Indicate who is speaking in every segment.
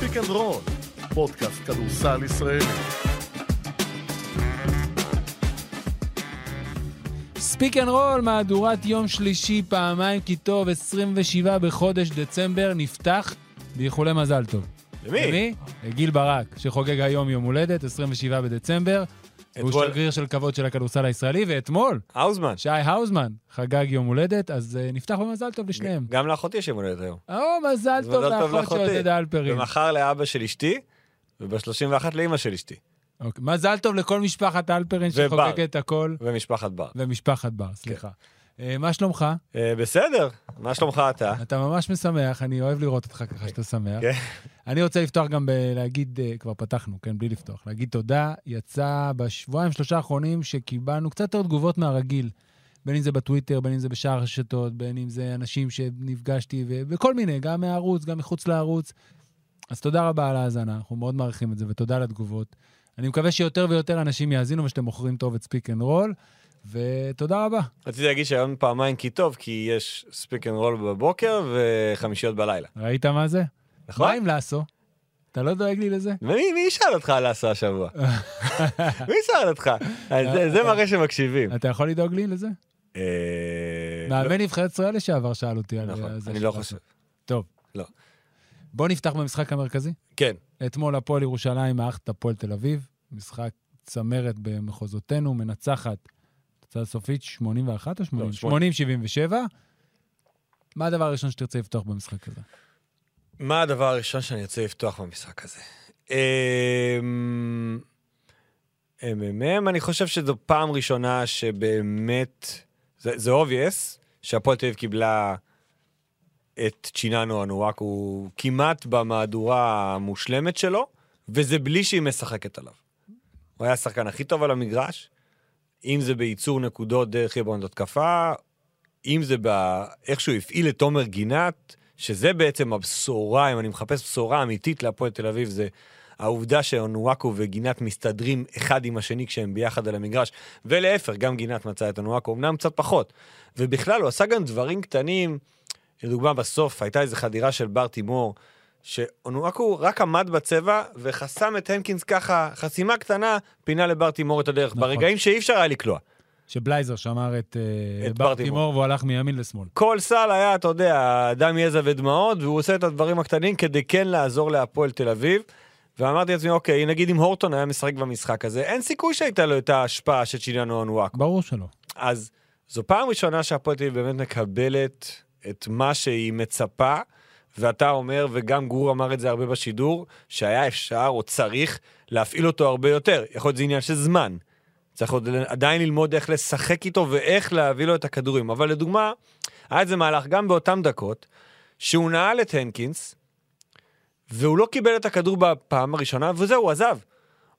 Speaker 1: פיק אנד רול, פודקאסט כדורסל ישראלי.
Speaker 2: ספיק אנד רול, מהדורת יום שלישי, פעמיים כי טוב, 27 בחודש דצמבר, נפתח באיחולי מזל טוב.
Speaker 3: למי?
Speaker 2: למי? גיל ברק, שחוגג היום יום הולדת, 27 בדצמבר. הוא
Speaker 3: אתמול-
Speaker 2: שגריר של כבוד של הכדורסל הישראלי, ואתמול,
Speaker 3: האוזמן.
Speaker 2: שי האוזמן חגג יום הולדת, אז אה, נפתח במזל טוב לשניהם.
Speaker 3: גם לאחותי יש יום הולדת היום.
Speaker 2: או, מזל
Speaker 3: אז
Speaker 2: טוב לאחות של עודד אלפרין.
Speaker 3: ומחר לאבא של אשתי, וב-31 לאימא של אשתי,
Speaker 2: אוקיי, מזל טוב לכל משפחת אלפרין
Speaker 3: ובר.
Speaker 2: שחוגגת הכל,
Speaker 3: ומשפחת בר.
Speaker 2: ומשפחת בר, סליחה.
Speaker 3: כן.
Speaker 2: אה, מה שלומך?
Speaker 3: אה, בסדר, מה שלומך אתה?
Speaker 2: אתה ממש משמח, אני אוהב לראות אותך ככה שאתה שמח.
Speaker 3: כן.
Speaker 2: אני רוצה לפתוח גם בלהגיד, אה, כבר פתחנו, כן, בלי לפתוח, להגיד תודה. יצא בשבועיים, שלושה האחרונים שקיבלנו קצת יותר תגובות מהרגיל, בין אם זה בטוויטר, בין אם זה בשאר הרשתות, בין אם זה אנשים שנפגשתי, ו- וכל מיני, גם מהערוץ, גם מחוץ לערוץ. אז תודה רבה על ההאזנה, אנחנו מאוד מעריכים את זה, ותודה על התגובות. אני מקווה שיותר ויותר אנשים יאזינו ושאתם מוכרים טוב את ספיק אנד רול, ותודה רבה.
Speaker 3: רציתי להגיד שהיום פעמיים כי טוב, כי יש ספיק אנד רול בבוקר וחמישיות בלילה.
Speaker 2: ראית מה זה?
Speaker 3: נכון?
Speaker 2: מה עם לאסו? אתה לא דואג לי לזה?
Speaker 3: ומי מי ישאל אותך על עשה השבוע? מי ישאל אותך? אז זה- זה מראה שמקשיבים.
Speaker 2: אתה יכול לדאוג לי לזה?
Speaker 3: אה,
Speaker 2: מאמן נבחרת ישראל לשעבר שאל אותי
Speaker 3: לא,
Speaker 2: על אה,
Speaker 3: נכון,
Speaker 2: זה.
Speaker 3: אני לא
Speaker 2: שלך.
Speaker 3: חושב.
Speaker 2: טוב.
Speaker 3: לא.
Speaker 2: בוא נפתח במשחק המרכזי.
Speaker 3: כן,
Speaker 2: אתמול הפועל ירושלים מארחת הפועל תל אביב. משחק צמרת במחוזותינו, מנצחת. תוצאה סופית 81 או 80?
Speaker 3: לא,
Speaker 2: 80-77. מה הדבר הראשון שתרצה לפתוח במשחק הזה?
Speaker 3: מה הדבר הראשון שאני רוצה לפתוח במשחק הזה? אמ, אמ, אני חושב שזו פעם ראשונה שבאמת, זה זה obvious, שהפועל תל אביב קיבלה את צ'יננו אנואקו כמעט במהדורה המושלמת שלו, וזה בלי שהיא משחקת עליו. הוא היה השחקן הכי טוב על המגרש, אם זה בייצור נקודות דרך ריבונד התקפה, אם זה בא... איך שהוא הפעיל את תומר גינת, שזה בעצם הבשורה, אם אני מחפש בשורה אמיתית להפועל תל אביב, זה העובדה שאונואקו וגינת מסתדרים אחד עם השני כשהם ביחד על המגרש, ולהפך, גם גינת מצא את אונואקו, אמנם קצת פחות. ובכלל, הוא עשה גם דברים קטנים, לדוגמה, בסוף הייתה איזו חדירה של בר תימור, שאונואקו רק עמד בצבע וחסם את הנקינס ככה, חסימה קטנה, פינה לבר תימור את הדרך,
Speaker 2: נכון.
Speaker 3: נכון. ברגעים שאי אפשר היה לקלוע.
Speaker 2: שבלייזר שמר את, אה,
Speaker 3: את
Speaker 2: בר
Speaker 3: בר תימור.
Speaker 2: תימור והוא הלך מימין לשמאל.
Speaker 3: כל סל היה, אתה יודע, דם, יזע ודמעות, והוא עושה את הדברים הקטנים כדי כן לעזור להפועל תל אביב. ואמרתי לעצמי, אוקיי, נגיד אם הורטון היה משחק במשחק הזה, אין סיכוי שהייתה לו את ההשפעה של צ'יליאנו אנואק.
Speaker 2: ברור שלא.
Speaker 3: אז זו פעם ראשונה שהפועל תל אביב באמת מקבלת את מה שהיא מצפה, ואתה אומר, וגם גור אמר את זה הרבה בשידור, שהיה אפשר או צריך להפעיל אותו הרבה יותר. יכול להיות שזה עניין של זמן. צריך עוד עדיין ללמוד איך לשחק איתו ואיך להביא לו את הכדורים. אבל לדוגמה, היה איזה מהלך גם באותן דקות, שהוא נעל את הנקינס, והוא לא קיבל את הכדור בפעם הראשונה, וזהו, הוא עזב.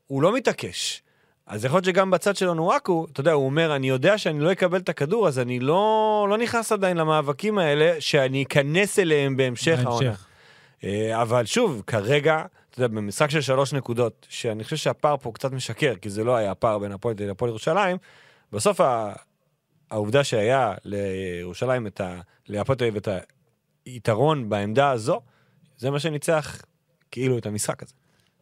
Speaker 3: הוא לא מתעקש. אז יכול להיות שגם בצד של אונואקו, אתה יודע, הוא אומר, אני יודע שאני לא אקבל את הכדור, אז אני לא, לא נכנס עדיין למאבקים האלה, שאני אכנס אליהם בהמשך העונה.
Speaker 2: בהמשך.
Speaker 3: אה, אבל שוב, כרגע, אתה יודע, במשחק של שלוש נקודות, שאני חושב שהפער פה קצת משקר, כי זה לא היה הפער בין הפועל תל אביב להפועל ירושלים, בסוף ה... העובדה שהיה לירושלים את ה... להפועל תל אביב את היתרון בעמדה הזו, זה מה שניצח כאילו את המשחק הזה.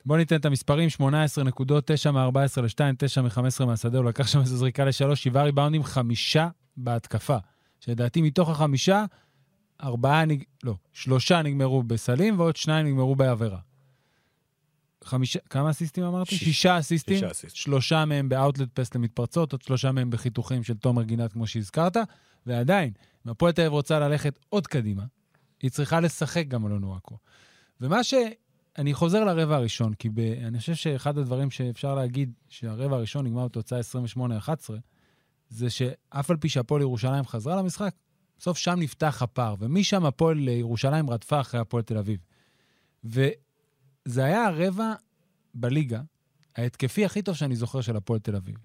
Speaker 2: בואו ניתן את המספרים, 18 נקודות, 9 מ-14 ל-2, 9 מ-15 מהשדה, הוא לקח שם איזו זריקה ל-3, 7 ריבאונדים, 5 בהתקפה. שלדעתי מתוך החמישה, ארבעה, נג... לא, שלושה נגמרו בסלים ועוד שניים נגמרו בעבירה. חמישה, כמה אסיסטים אמרתי?
Speaker 3: שיש-
Speaker 2: שישה אסיסטים,
Speaker 3: שישה אסיסטים.
Speaker 2: שלושה מהם באאוטלט פס למתפרצות, עוד שלושה מהם בחיתוכים של תומר גינת, כמו שהזכרת, ועדיין, אם הפועל תל אביב רוצה ללכת עוד קדימה, היא צריכה לשחק גם על אונואקו. ומה ש... אני חוזר לרבע הראשון, כי ב... אני חושב שאחד הדברים שאפשר להגיד, שהרבע הראשון נגמר בתוצאה 28-11, זה שאף על פי שהפועל ירושלים חזרה למשחק, בסוף שם נפתח הפער, ומשם הפועל ירושלים רדפה אחרי הפועל תל אביב. וזה היה הרבע בליגה ההתקפי הכי טוב שאני זוכר של הפועל תל אביב.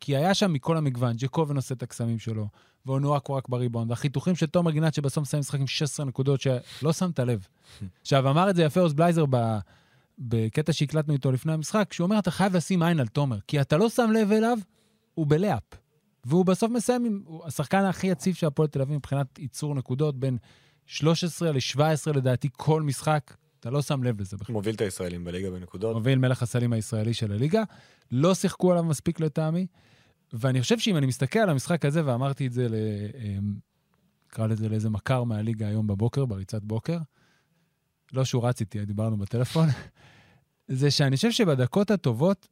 Speaker 2: כי היה שם מכל המגוון, ג'קובן עושה את הקסמים שלו, ואונואקו רק בריבון, והחיתוכים של תומר גינת שבסוף מסיים משחק עם 16 נקודות, שלא שמת לב. עכשיו, אמר את זה יפה עוז בלייזר ב... בקטע שהקלטנו איתו לפני המשחק, שהוא אומר, אתה חייב לשים עין על תומר, כי אתה לא שם לב אליו, הוא בלאפ. והוא בסוף מסיים עם הוא השחקן הכי יציב של הפועל תל אביב מבחינת ייצור נקודות, בין 13 ל-17 לדעתי כל משחק, אתה לא שם לב לזה בכלל.
Speaker 3: מוביל את הישראלים בליגה בנקודות.
Speaker 2: מוביל מלך הסלים הישראלי של הליגה. לא שיחקו עליו מספיק לטעמי, ואני חושב שאם אני מסתכל על המשחק הזה, ואמרתי את זה ל... אמ, נקרא לזה לאיזה מכר מהליגה היום בבוקר, בריצת בוקר, לא שהוא רץ איתי, דיברנו בטלפון, זה שאני חושב שבדקות הטובות,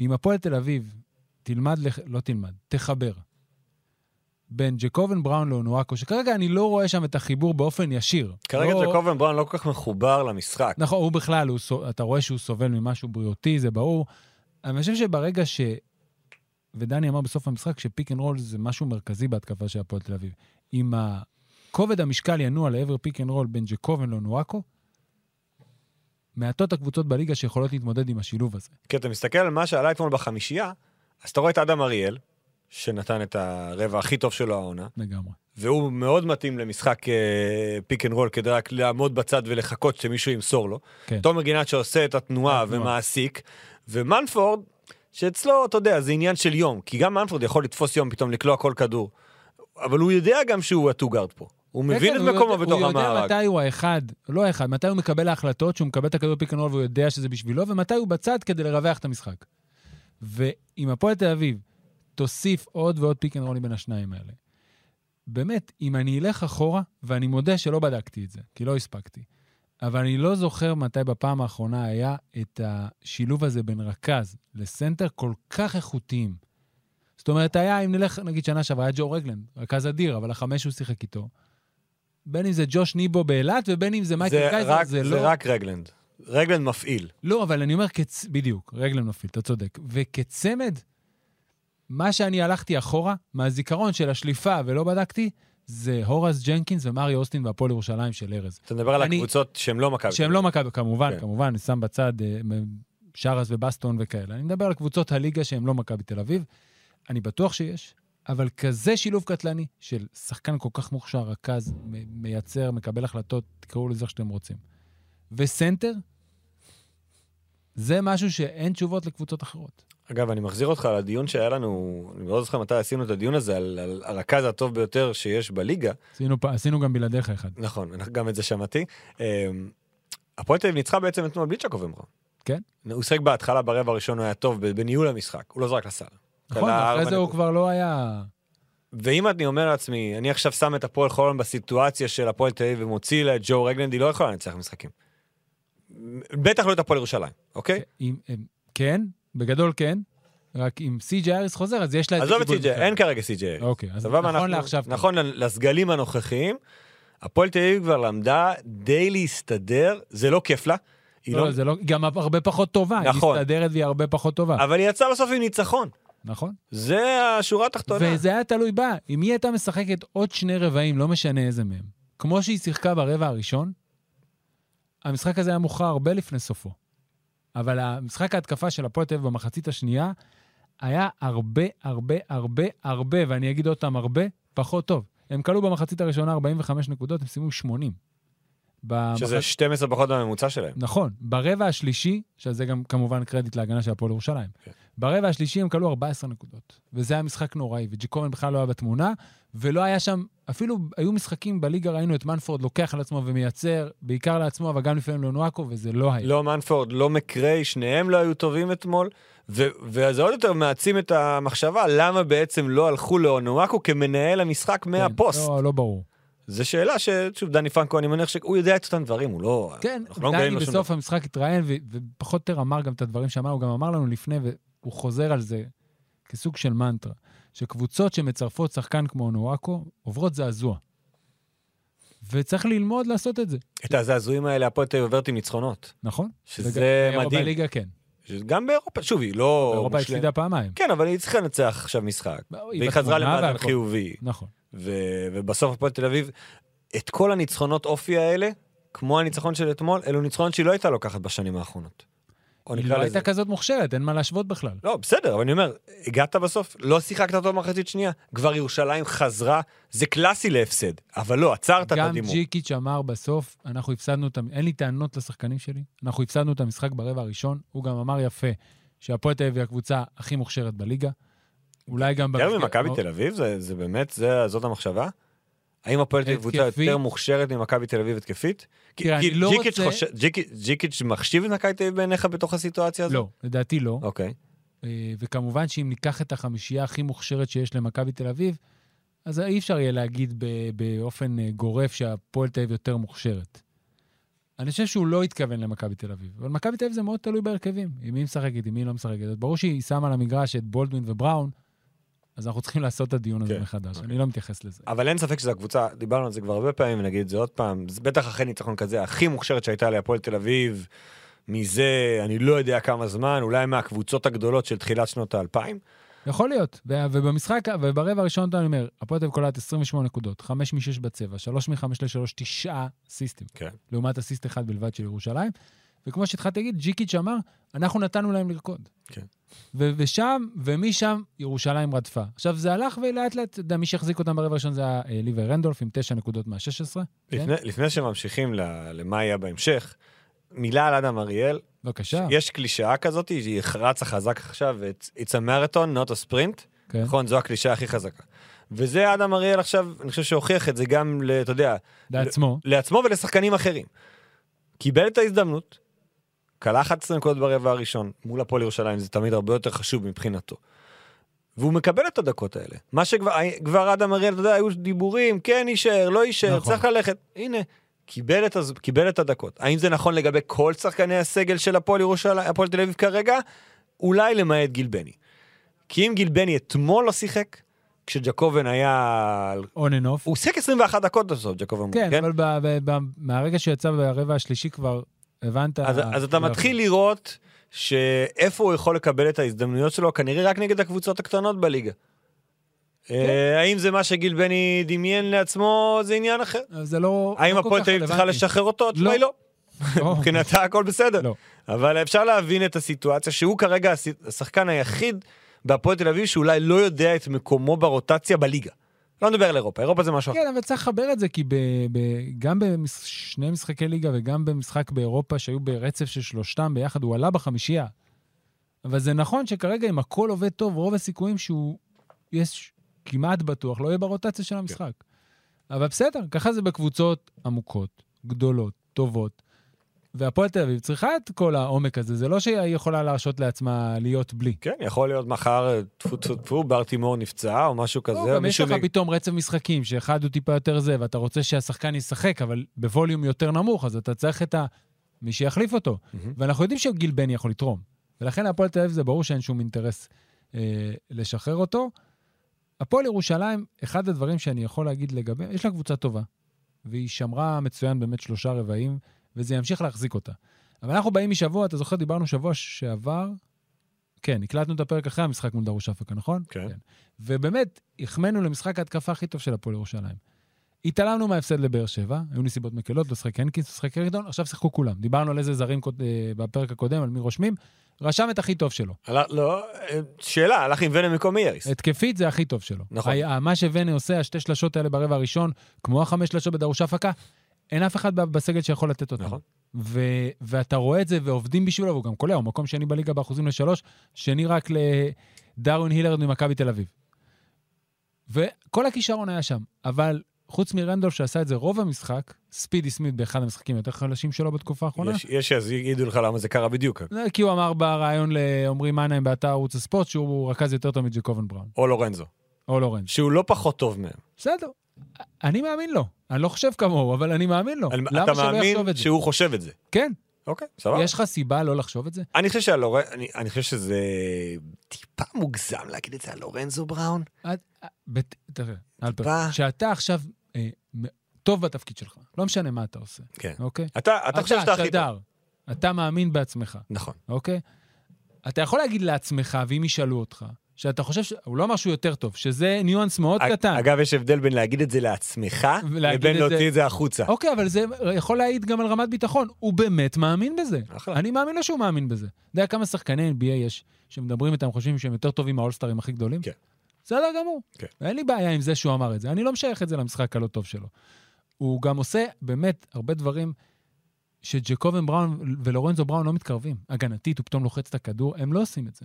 Speaker 2: אם הפועל תל אביב תלמד, לח... לא תלמד, תחבר בין ג'קובן בראון לאונואקו, שכרגע אני לא רואה שם את החיבור באופן ישיר.
Speaker 3: כרגע
Speaker 2: לא...
Speaker 3: ג'קובן בראון לא כל כך מחובר למשחק.
Speaker 2: נכון, הוא בכלל, הוא, סו- אתה רואה שהוא סובל ממשהו בריאותי, זה ברור. אבל אני חושב שברגע ש... ודני אמר בסוף המשחק שפיק אנד רול זה משהו מרכזי בהתקפה של הפועל תל אביב. אם כובד המשקל ינוע לעבר פיק אנד רול בין ג'קובן לנואקו, מעטות הקבוצות בליגה שיכולות להתמודד עם השילוב הזה.
Speaker 3: כי אתה מסתכל על מה שעלה אתמול בחמישייה, אז אתה רואה את אדם אריאל, שנתן את הרבע הכי טוב שלו העונה,
Speaker 2: לגמרי.
Speaker 3: והוא מאוד מתאים למשחק אה, פיק אנד רול, כדי רק לעמוד בצד ולחכות שמישהו ימסור לו.
Speaker 2: כן.
Speaker 3: תומר גינת שעושה את התנועה
Speaker 2: התנועה.
Speaker 3: ומעסיק, ומנפורד, שאצלו, אתה יודע, זה עניין של יום, כי גם מנפורד יכול לתפוס יום, פתאום לקלוע כל כדור, אבל הוא יודע גם שהוא הטו-גארד פה. הוא מבין
Speaker 2: כן,
Speaker 3: את
Speaker 2: כן, הוא
Speaker 3: מקומו
Speaker 2: יודע-
Speaker 3: בתוך
Speaker 2: הוא יודע
Speaker 3: המארג.
Speaker 2: מתי הוא האחד, לא האחד, מתי הוא מקבל ההחלטות שהוא מקבל את הכדור בפיק אנד רול והוא יודע שזה בשבילו, ומתי הוא בצד כדי לרווח את המשחק. ואם הפועל תל אביב תוסיף עוד ועוד פיק אנד רולים בין השניים האלה, באמת, אם אני אלך אחורה, ואני מודה שלא בדקתי את זה, כי לא הספקתי, אבל אני לא זוכר מתי בפעם האחרונה היה את השילוב הזה בין רכז לסנטר כל כך איכותיים. זאת אומרת, היה, אם נלך, נגיד שנה שעברה, היה ג'ו רגלנד, רכז אדיר, אבל החמש הוא שיחק איתו. בין אם זה ג'וש ניבו באילת, ובין אם זה מייקל
Speaker 3: זה
Speaker 2: קייזר,
Speaker 3: רק-
Speaker 2: זה,
Speaker 3: זה
Speaker 2: לא...
Speaker 3: רק רגלנד. רגלנד מפעיל.
Speaker 2: לא, אבל אני אומר, כצ... בדיוק, רגלם נופיל, אתה צודק. וכצמד, מה שאני הלכתי אחורה, מהזיכרון של השליפה ולא בדקתי, זה הורס ג'נקינס ומריו אוסטין והפועל ירושלים של ארז.
Speaker 3: אתה מדבר על
Speaker 2: אני-
Speaker 3: הקבוצות שהן לא מכבי.
Speaker 2: שהם לא מכבי, כמובן,
Speaker 3: כן.
Speaker 2: כמובן, אני שם בצד אה, מ- שרס ובסטון וכאלה. אני מדבר על קבוצות הליגה שהן לא מכבי תל אביב. אני בטוח שיש, אבל כזה שילוב קטלני של שחקן כל כך מוכשר, רכז, מ- מייצר, מקבל החלטות, תקראו לזה איך שאתם רוצים. וסנטר, זה משהו שאין תשובות לקבוצות אחרות.
Speaker 3: אגב, אני מחזיר אותך לדיון שהיה לנו, אני לא זוכר מתי עשינו את הדיון הזה, על על הרכז הטוב ביותר שיש בליגה.
Speaker 2: עשינו, פ- עשינו גם בלעדיך אחד.
Speaker 3: נכון, אנחנו- גם את זה שמעתי. אמ, הפועל תל אביב ניצחה בעצם אתמול בלי צ'קוב אמרה.
Speaker 2: כן.
Speaker 3: הוא שיחק בהתחלה ברבע הראשון, הוא היה טוב ב- בניהול המשחק, הוא לא זרק לסל.
Speaker 2: נכון,
Speaker 3: כלה
Speaker 2: אחרי
Speaker 3: ארבע
Speaker 2: זה הוא
Speaker 3: נקודות.
Speaker 2: כבר לא היה...
Speaker 3: ואם אני אומר לעצמי, אני עכשיו שם את הפועל חולון בסיטואציה של הפועל תל אביב ומוציא לה את ג'ו רגלנד, היא לא יכולה לנצח משחקים. בטח לא את הפועל ירושלים, אוקיי?
Speaker 2: עם, עם, כן, בגדול כן, רק אם סי.ג'י אריס חוזר, אז יש לה... את
Speaker 3: עזוב את
Speaker 2: הכיבוד
Speaker 3: סי.ג'י,
Speaker 2: כן. בכלל.
Speaker 3: אין כרגע סי.ג'י.
Speaker 2: אוקיי, אז
Speaker 3: סבבה,
Speaker 2: נכון
Speaker 3: אנחנו-
Speaker 2: לעכשיו. כן.
Speaker 3: נכון לסגלים הנוכחיים, הפועל תל אביב כבר למדה די להסתדר, זה לא כיף לה, היא
Speaker 2: לא,
Speaker 3: לא-
Speaker 2: זה לא, גם הרבה פחות טובה.
Speaker 3: נכון.
Speaker 2: היא מסתדרת והיא הרבה פחות טובה,
Speaker 3: אבל היא יצאה בסוף עם ניצחון.
Speaker 2: נכון?
Speaker 3: זה השורה התחתונה.
Speaker 2: וזה היה תלוי בה. אם היא הייתה משחקת עוד שני רבעים, לא משנה איזה מהם, כמו שהיא שיחקה ברבע הראשון, המשחק הזה היה מוכרע הרבה לפני סופו. אבל המשחק ההתקפה של הפועל תל אביב במחצית השנייה היה הרבה, הרבה, הרבה, הרבה, ואני אגיד עוד פעם, הרבה פחות טוב. הם כלו במחצית הראשונה 45 נקודות, הם סיימו 80. במחצית-
Speaker 3: שזה 12 פחות מהממוצע שלהם.
Speaker 2: נכון, ברבע השלישי, שזה גם כמובן קרדיט להגנה של הפועל ירושלים,
Speaker 3: כן.
Speaker 2: ברבע השלישי הם כלו 14 נקודות, וזה היה משחק נוראי, וג'יקובן בכלל לא היה בתמונה, ולא היה שם, אפילו היו משחקים בליגה, ראינו את מנפורד לוקח על עצמו ומייצר, בעיקר לעצמו, אבל גם לפעמים לנואקו, וזה לא היה.
Speaker 3: לא מנפורד, לא מקריי, שניהם לא היו טובים אתמול, ו- וזה עוד יותר מעצים את המחשבה למה בעצם לא הלכו לאונואקו כמנהל המשחק
Speaker 2: כן,
Speaker 3: מהפוסט.
Speaker 2: לא, לא ברור.
Speaker 3: זו שאלה ששוב, דני פרנקו, אני מניח שהוא יודע את אותם דברים, הוא לא...
Speaker 2: כן,
Speaker 3: אנחנו לא מגלים
Speaker 2: דני
Speaker 3: לו שום
Speaker 2: בסוף המשחק התראיין, ו- ופחות או יותר אמר גם את הדברים שאמר, הוא גם אמר לנו לפני, והוא חוזר על זה כסוג של מנטרה, שקבוצות שמצרפות שחקן כמו נואקו עוברות זעזוע. וצריך ללמוד לעשות את זה,
Speaker 3: את הזעזועים האלה הפועל תל אביב עוברת עם ניצחונות.
Speaker 2: נכון?
Speaker 3: שזה
Speaker 2: וגם-
Speaker 3: מדהים.
Speaker 2: בליגה כן.
Speaker 3: גם באירופה, שוב, היא לא...
Speaker 2: באירופה
Speaker 3: מושלמת.
Speaker 2: הפסידה פעמיים.
Speaker 3: כן, אבל היא צריכה לנצח עכשיו משחק.
Speaker 2: היא
Speaker 3: והיא חזרה
Speaker 2: בתמונה
Speaker 3: למאזן
Speaker 2: והכל.
Speaker 3: חיובי.
Speaker 2: נכון.
Speaker 3: ו- ובסוף הפועל תל אביב, את כל הניצחונות אופי האלה, כמו הניצחון של אתמול, אלו ניצחונות שהיא לא הייתה לוקחת בשנים האחרונות. או
Speaker 2: היא לא
Speaker 3: נקרא לזה.
Speaker 2: הייתה כזאת מוכשרת, אין מה להשוות בכלל.
Speaker 3: לא, בסדר, אבל אני אומר, הגעת בסוף, לא שיחקת אותו מחצית שנייה, כבר ירושלים חזרה, זה קלאסי להפסד, אבל לא, עצרת את
Speaker 2: גם
Speaker 3: הדימום.
Speaker 2: ג'יקיץ' אמר בסוף, אנחנו הפסדנו את... המ- אין לי טענות לשחקנים שלי, אנחנו הפסדנו את המשחק ברבע הראשון. הוא גם אמר יפה שהפועל תל אביב היא הקבוצה הכי מוכשרת בליגה. אולי גם...
Speaker 3: יותר
Speaker 2: במסגרת-
Speaker 3: ממכבי תל אביב, זה- זה באמת, זה- זאת המחשבה? האם הפועל תל אביב קבוצה
Speaker 2: התקפי.
Speaker 3: יותר מוכשרת ממכבי תל אביב התקפית? כי-
Speaker 2: תראה,
Speaker 3: כי
Speaker 2: אני לא
Speaker 3: ג'יקיץ'
Speaker 2: רוצה-
Speaker 3: חושב- ג'יקיץ'- ג'יקיץ' מחשיב את מכבי תל אביב בעיניך בתוך הסיטואציה הזאת?
Speaker 2: לא, לדעתי לא.
Speaker 3: אוקיי.
Speaker 2: אה, וכמובן שאם ניקח את החמישייה הכי מוכשרת שיש למכבי תל אביב, אז אי אפשר יהיה להגיד ב- באופן אה, גורף שהפועל תל אביב יותר מוכשרת. אני חושב שהוא לא התכוון למכבי תל אביב, אבל מכבי תל אביב זה מאוד תלוי בהרכבים, עם מי משחקת, עם מי לא משחקת. אז ברור שהיא שמה על המגרש את בולדווין ובראון, אז אנחנו צריכים לעשות את הדיון הזה
Speaker 3: כן,
Speaker 2: מחדש, אני לא מתייחס לזה.
Speaker 3: אבל אין ספק שזו הקבוצה, דיברנו על זה כבר הרבה פעמים, נגיד את זה עוד פעם, זה בטח אחרי ניצחון כזה, הכי מוכשרת שהייתה להפועל תל אביב, מזה אני לא יודע כמה זמן, אולי מהקבוצות הגדולות של תחילת שנות האלפיים.
Speaker 2: יכול להיות, ו- ובמשחק, וברבע הראשון אתה אומר, הפועל תל אביב קולעת 28 נקודות, 5 מ-6 בצבע, 3 מ-5 ל-3, 9 סיסטים.
Speaker 3: כן.
Speaker 2: לעומת אסיסט אחד בלבד של ירושלים. וכמו שהתחלתי להגיד, ג'יקיץ' אמר, אנחנו נתנו להם לרקוד.
Speaker 3: כן.
Speaker 2: ו- ושם, ומשם ירושלים רדפה. עכשיו, זה הלך ולאט לאט, אתה יודע, מי שהחזיק אותם ברבע הראשון זה היה אה, ליבר רנדולף עם 9 נקודות מה-16.
Speaker 3: לפני, לפני שממשיכים ל- למה יהיה בהמשך, מילה על אדם אריאל,
Speaker 2: בבקשה.
Speaker 3: יש קלישאה כזאת, היא רצה חזק עכשיו, it's- it's a marathon, not a sprint,
Speaker 2: כן.
Speaker 3: נכון, זו הקלישאה הכי חזקה. וזה אדם אריאל עכשיו, אני חושב שהוכיח את זה גם, ל- אתה יודע,
Speaker 2: לעצמו.
Speaker 3: לעצמו ולשחקנים אחרים. קיבל את ההזדמנות, כלה 11 נקודות ברבע הראשון, מול הפועל ירושלים, זה תמיד הרבה יותר חשוב מבחינתו. והוא מקבל את הדקות האלה. מה שכבר כבר אדם אריאל, אתה יודע, היו דיבורים, כן יישאר, לא יישאר,
Speaker 2: נכון.
Speaker 3: נכון. צריך ללכת. הנה, קיבל את, הז... קיבל את הדקות. האם זה נכון לגבי כל שחקני הסגל של הפועל ירושלים, הפועל תל אביב כרגע? אולי למעט גיל בני. כי אם גיל בני אתמול לא שיחק, כשג'קובן היה... על-
Speaker 2: on and off.
Speaker 3: הוא שיחק 21 דקות בסוף, ג'קובן.
Speaker 2: כן, אבל ב- ב- ב- מהרגע שיצא ברבע השלישי כבר הבנת...
Speaker 3: אז, אז
Speaker 2: כאילו
Speaker 3: אתה מתחיל לראות שאיפה הוא יכול לקבל את ההזדמנויות שלו, כנראה רק נגד הקבוצות הקטנות בליגה.
Speaker 2: כן.
Speaker 3: אה, האם זה מה שגיל בני דמיין לעצמו, זה עניין אחר.
Speaker 2: זה לא...
Speaker 3: האם
Speaker 2: לא כל
Speaker 3: הפועל
Speaker 2: כך
Speaker 3: תל אביב צריכה
Speaker 2: רלוונטי.
Speaker 3: לשחרר אותו? התשובה היא לא.
Speaker 2: לא.
Speaker 3: מבחינתה הכל בסדר.
Speaker 2: לא.
Speaker 3: אבל אפשר להבין את הסיטואציה שהוא כרגע הס- השחקן היחיד בהפועל תל אביב שאולי לא יודע את מקומו ברוטציה בליגה. לא נדבר על אירופה, אירופה זה משהו אחר.
Speaker 2: כן, אבל צריך לחבר את זה, כי ב, ב, גם בשני משחקי ליגה וגם במשחק באירופה, שהיו ברצף של שלושתם ביחד, הוא עלה בחמישייה. אבל זה נכון שכרגע, אם הכל עובד טוב, רוב הסיכויים שהוא, יש כמעט בטוח, לא יהיה ברוטציה של המשחק. אבל בסדר, ככה זה בקבוצות עמוקות, גדולות, טובות. והפועל תל אביב צריכה את כל העומק הזה, זה לא שהיא יכולה להרשות לעצמה להיות בלי.
Speaker 3: כן, יכול להיות מחר, טפו טפו טפו, בר תימור נפצע או משהו כזה,
Speaker 2: לא,
Speaker 3: או
Speaker 2: גם יש
Speaker 3: מישהו...
Speaker 2: לך
Speaker 3: מ-
Speaker 2: פתאום רצף משחקים, שאחד הוא טיפה יותר זה, ואתה רוצה שהשחקן ישחק, אבל בווליום יותר נמוך, אז אתה צריך את ה... מי שיחליף אותו.
Speaker 3: מהמם.
Speaker 2: ואנחנו יודעים שגיל בני יכול לתרום. ולכן להפועל תל אביב זה ברור שאין שום אינטרס אה, לשחרר אותו. הפועל ירושלים, אחד הדברים שאני יכול להגיד לגבי, יש לה קבוצה טובה, והיא שמרה מצוין באמת שלושה רבעים, וזה ימשיך להחזיק אותה. אבל אנחנו באים משבוע, אתה זוכר, דיברנו שבוע שעבר, כן, הקלטנו את הפרק אחרי המשחק מול דרוש אפקה, נכון?
Speaker 3: כן.
Speaker 2: ובאמת, החמאנו למשחק ההתקפה הכי טוב של הפועל ירושלים. התעלמנו מההפסד לבאר שבע, היו נסיבות מקלות, לא שחק הנקינס, לא שחק אריקדון, עכשיו שיחקו כולם. דיברנו על איזה זרים קוד- אה, בפרק הקודם, על מי רושמים, רשם את הכי טוב שלו.
Speaker 3: הלך- לא, אה, שאלה, הלך עם ונם במקום איריס.
Speaker 2: התקפית זה הכי טוב שלו.
Speaker 3: נכון.
Speaker 2: היה, מה שוונה עושה, השתי שלשות האלה ברבע הראשון, כמו החמש שלשות בדרוש הפקה, אין אף אחד ב- בסגל שיכול לתת אותן.
Speaker 3: נכון.
Speaker 2: ו- ואתה רואה את זה, ועובדים בשבילו, והוא גם קולע, הוא מקום שני בליגה באחוזים לשלוש, שני רק לדרווין הילרד ממכבי תל אביב. וכל הכישרון היה שם, אבל חוץ מרנדולף שעשה את זה רוב המשחק, ספידי סמית באחד המשחקים היותר חלשים שלו בתקופה האחרונה,
Speaker 3: יש- יש שיגידו לך למה זה קרה בדיוק,
Speaker 2: לא, כי הוא אמר בריאיון לעמרי מנהיים באתר ערוץ הספורט שהוא רכז יותר טוב מג'קובן בראון,
Speaker 3: או לורנזו,
Speaker 2: או לורנס.
Speaker 3: שהוא לא פחות טוב מהם.
Speaker 2: בסדר. אני מאמין לו. אני לא חושב כמוהו, אבל אני מאמין לו.
Speaker 3: אני-
Speaker 2: אוקיי, למה
Speaker 3: אתה
Speaker 2: שלא יחשוב
Speaker 3: מאמין
Speaker 2: את זה?
Speaker 3: שהוא חושב את זה.
Speaker 2: כן.
Speaker 3: אוקיי, סבבה.
Speaker 2: יש לך סיבה לא לחשוב את זה?
Speaker 3: אני חושב שהלורנ... אני- אני חושב שזה טיפה מוגזם להגיד את זה על לורנזו בראון.
Speaker 2: את- בת- תראה, אלפר,
Speaker 3: טיפה.
Speaker 2: שאתה עכשיו אה, מ- טוב בתפקיד שלך, לא משנה מה אתה עושה,
Speaker 3: כן.
Speaker 2: אוקיי?
Speaker 3: אתה אתה חושב שאתה הכי טוב.
Speaker 2: שדר, אתה מאמין בעצמך,
Speaker 3: נכון.
Speaker 2: אוקיי? אתה יכול להגיד לעצמך, ואם ישאלו אותך, שאתה חושב, ש- הוא לא אמר שהוא יותר טוב, שזה ניואנס מאוד
Speaker 3: אג-
Speaker 2: קטן.
Speaker 3: אגב, יש הבדל בין להגיד את זה לעצמך,
Speaker 2: ולהגיד
Speaker 3: לבין
Speaker 2: את
Speaker 3: להוציא
Speaker 2: זה-
Speaker 3: את זה החוצה.
Speaker 2: אוקיי, אבל זה יכול להעיד גם על רמת ביטחון. הוא באמת מאמין בזה.
Speaker 3: אחלה.
Speaker 2: אני מאמין לו שהוא מאמין בזה. אתה יודע כמה שחקני NBA יש שמדברים איתם, חושבים שהם יותר טובים מהאולסטרים הכי גדולים?
Speaker 3: כן.
Speaker 2: בסדר גמור.
Speaker 3: כן.
Speaker 2: אין לי בעיה עם זה שהוא אמר את זה. אני לא משייך את זה למשחק הלא טוב שלו. הוא גם עושה באמת הרבה דברים שג'קובן בראון ולורנזו בראון לא מתקרבים. הגנתית, הוא פתאום לוחץ את הכדור, הם לא עושים את זה.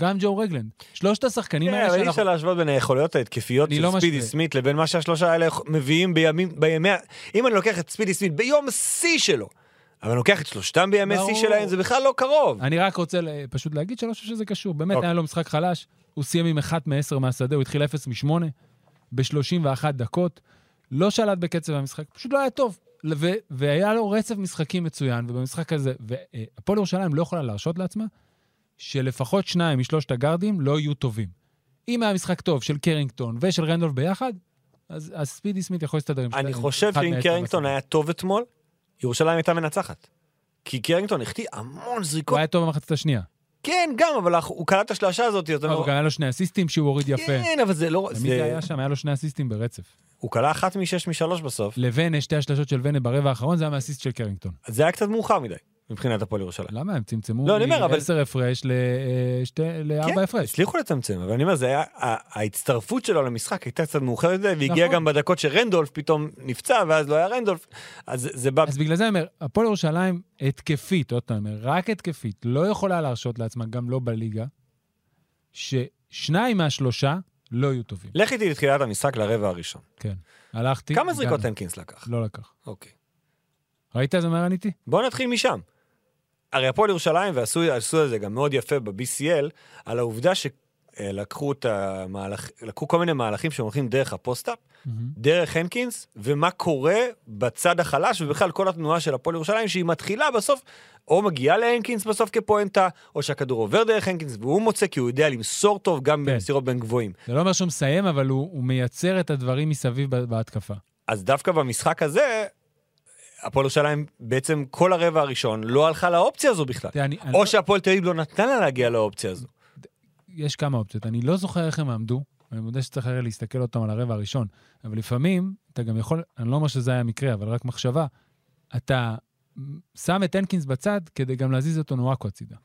Speaker 2: גם ג'ו רגלנד. שלושת השחקנים
Speaker 3: כן,
Speaker 2: האלה
Speaker 3: אבל אי אפשר
Speaker 2: שאנחנו...
Speaker 3: להשוות בין היכולות ההתקפיות
Speaker 2: אני
Speaker 3: של
Speaker 2: לא
Speaker 3: ספידי
Speaker 2: משווה.
Speaker 3: סמית לבין מה שהשלושה האלה מביאים בימים, בימי... ה- אם אני לוקח את ספידי סמית ביום שיא שלו, אבל אני לוקח את שלושתם בימי שיא
Speaker 2: ברור.
Speaker 3: שלהם, זה בכלל לא קרוב.
Speaker 2: אני רק רוצה ל- פשוט להגיד שאני לא חושב שזה קשור. באמת,
Speaker 3: אוקיי.
Speaker 2: היה לו משחק חלש, הוא סיים עם 1 מ-10 מהשדה, הוא התחיל 0 מ-8 ב-31 דקות, לא שלט בקצב המשחק, פשוט לא היה טוב. ו- והיה לו רצף משחקים מצוין, ובמשחק הזה, והפועל ירושלים לא יכולה להרשות לעצמה שלפחות שניים משלושת הגארדים לא יהיו טובים. אם היה משחק טוב של קרינגטון ושל רנדולף ביחד, אז, אז ספידי סמית יכול להסתדר עם
Speaker 3: אני
Speaker 2: שתי- עם
Speaker 3: חושב
Speaker 2: אחד
Speaker 3: שאם
Speaker 2: מהעשר
Speaker 3: קרינגטון
Speaker 2: בסוף.
Speaker 3: היה טוב אתמול, ירושלים הייתה מנצחת. כי קרינגטון החטיא המון
Speaker 2: הוא
Speaker 3: זריקות.
Speaker 2: היה טוב במחצית השנייה.
Speaker 3: כן, גם, אבל אנחנו- הוא קלט את השלשה הזאת, אתה
Speaker 2: אבל
Speaker 3: אומר,
Speaker 2: גם היה לו שני אסיסטים שהוא הוריד יפה.
Speaker 3: כן, אבל זה לא...
Speaker 2: ומי
Speaker 3: זה-
Speaker 2: זה היה שם? היה לו שני אסיסטים ברצף.
Speaker 3: הוא קלע אחת משש משלוש בסוף,
Speaker 2: לבנה, שתי השלשות של ונה ברבע האחרון, זה היה מהאסיסט של קרינגטון.
Speaker 3: אז זה היה קצת מאוחר מדי, מבחינת הפועל ירושלים.
Speaker 2: למה? הם צמצמו
Speaker 3: לא, אני אומר, אבל-
Speaker 2: מ-10 הפרש ל- אה, שתי- לארבע הפרש.
Speaker 3: כן. הצליחו לצמצם, אבל אני אומר, זה היה, ה- ההצטרפות שלו למשחק הייתה קצת מאוחרת מדי, והגיעה
Speaker 2: נכון.
Speaker 3: גם בדקות שרנדולף פתאום נפצע, ואז לא היה רנדולף, אז זה- זה בא...
Speaker 2: אז בגלל זה אני אומר, הפועל ירושלים התקפית, עוד פעם, אני אומר, רק התקפית, לא יכולה להרשות לעצמה, גם לא בליגה, ששניים מהשלושה לא יהיו טובים.
Speaker 3: לך איתי לתחילת המשחק לרבע הראשון.
Speaker 2: כן. הלכתי...
Speaker 3: כמה זריקות
Speaker 2: הגענו.
Speaker 3: הנקינס לקח?
Speaker 2: לא לקח.
Speaker 3: אוקיי.
Speaker 2: ראית איזה מהר עניתי?
Speaker 3: בואו נתחיל משם. הרי הפועל ירושלים, ועשו עשו את זה גם מאוד יפה ב-BCL, על העובדה שלקחו את המהלך, לקחו כל מיני מהלכים שהולכים דרך הפוסט-אפ, דרך הנקינס, ומה קורה בצד החלש, ובכלל כל התנועה של הפועל ירושלים, שהיא מתחילה בסוף, או מגיעה להנקינס בסוף כפואנטה, או שהכדור עובר דרך הנקינס, והוא מוצא כי הוא יודע למסור טוב גם
Speaker 2: כן.
Speaker 3: במסירות בין גבוהים.
Speaker 2: זה לא אומר שהוא מסיים, אבל הוא הוא מייצר את הדברים מסביב ב- בהתקפה.
Speaker 3: אז דווקא במשחק הזה, הפועל ירושלים בעצם כל הרבע הראשון לא הלכה לאופציה הזו בכלל.
Speaker 2: תראה, אני- אני לא-
Speaker 3: או שהפועל תל אביב לא נתן לה להגיע לאופציה הזו.
Speaker 2: יש כמה אופציות. אני לא זוכר איך הם עמדו, אני מודה שצריך הרי להסתכל עוד פעם על הרבע הראשון, אבל לפעמים אתה גם יכול, אני לא אומר שזה היה מקרה, אבל רק מחשבה, אתה שם את הנקינס בצד כדי גם להזיז את אונואקו הצידה.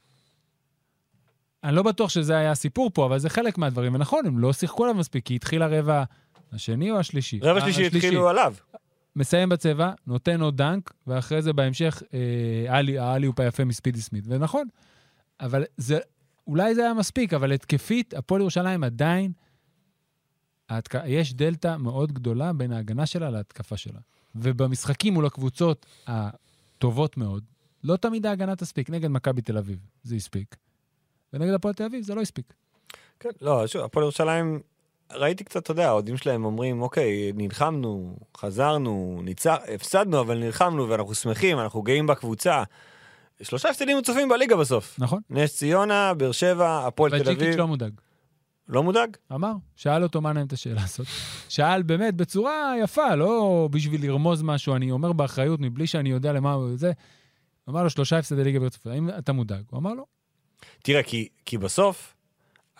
Speaker 2: אני לא בטוח שזה היה הסיפור פה, אבל זה חלק מהדברים, ונכון, הם לא שיחקו עליו מספיק, כי התחיל הרבע השני או השלישי?
Speaker 3: רבע שלישי
Speaker 2: השלישי.
Speaker 3: התחילו עליו.
Speaker 2: מסיים בצבע, נותן עוד דנק, ואחרי זה בהמשך אה, האלי- האליופ היפה מספידי סמית. ונכון, אבל זה, אולי זה היה מספיק, אבל התקפית, הפועל ירושלים עדיין, ההתק... יש דלתא מאוד גדולה בין ההגנה שלה להתקפה שלה. ובמשחקים מול הקבוצות הטובות מאוד, לא תמיד ההגנה תספיק. נגד מכבי תל אביב זה הספיק, ונגד הפועל תל אביב זה לא הספיק.
Speaker 3: כן, לא, שוב, הפועל ירושלים, ראיתי קצת, אתה יודע, האוהדים שלהם אומרים, אוקיי, נלחמנו, חזרנו, ניצח, הפסדנו, אבל נלחמנו, ואנחנו שמחים, אנחנו גאים בקבוצה. שלושה הפסדים רצופים בליגה בסוף.
Speaker 2: נכון?
Speaker 3: נס ציונה, באר שבע, הפועל תל
Speaker 2: וג'יקיץ'
Speaker 3: אביב.
Speaker 2: לא מודאג.
Speaker 3: לא מודאג?
Speaker 2: אמר, שאל אותו מה נעים את השאלה הזאת. שאל באמת בצורה יפה, לא בשביל לרמוז משהו, אני אומר באחריות מבלי שאני יודע למה הוא- זה. אמר לו שלושה הפסדי ליגה ברצוף, האם אתה מודאג? הוא אמר לא.
Speaker 3: תראה, כי- כי בסוף,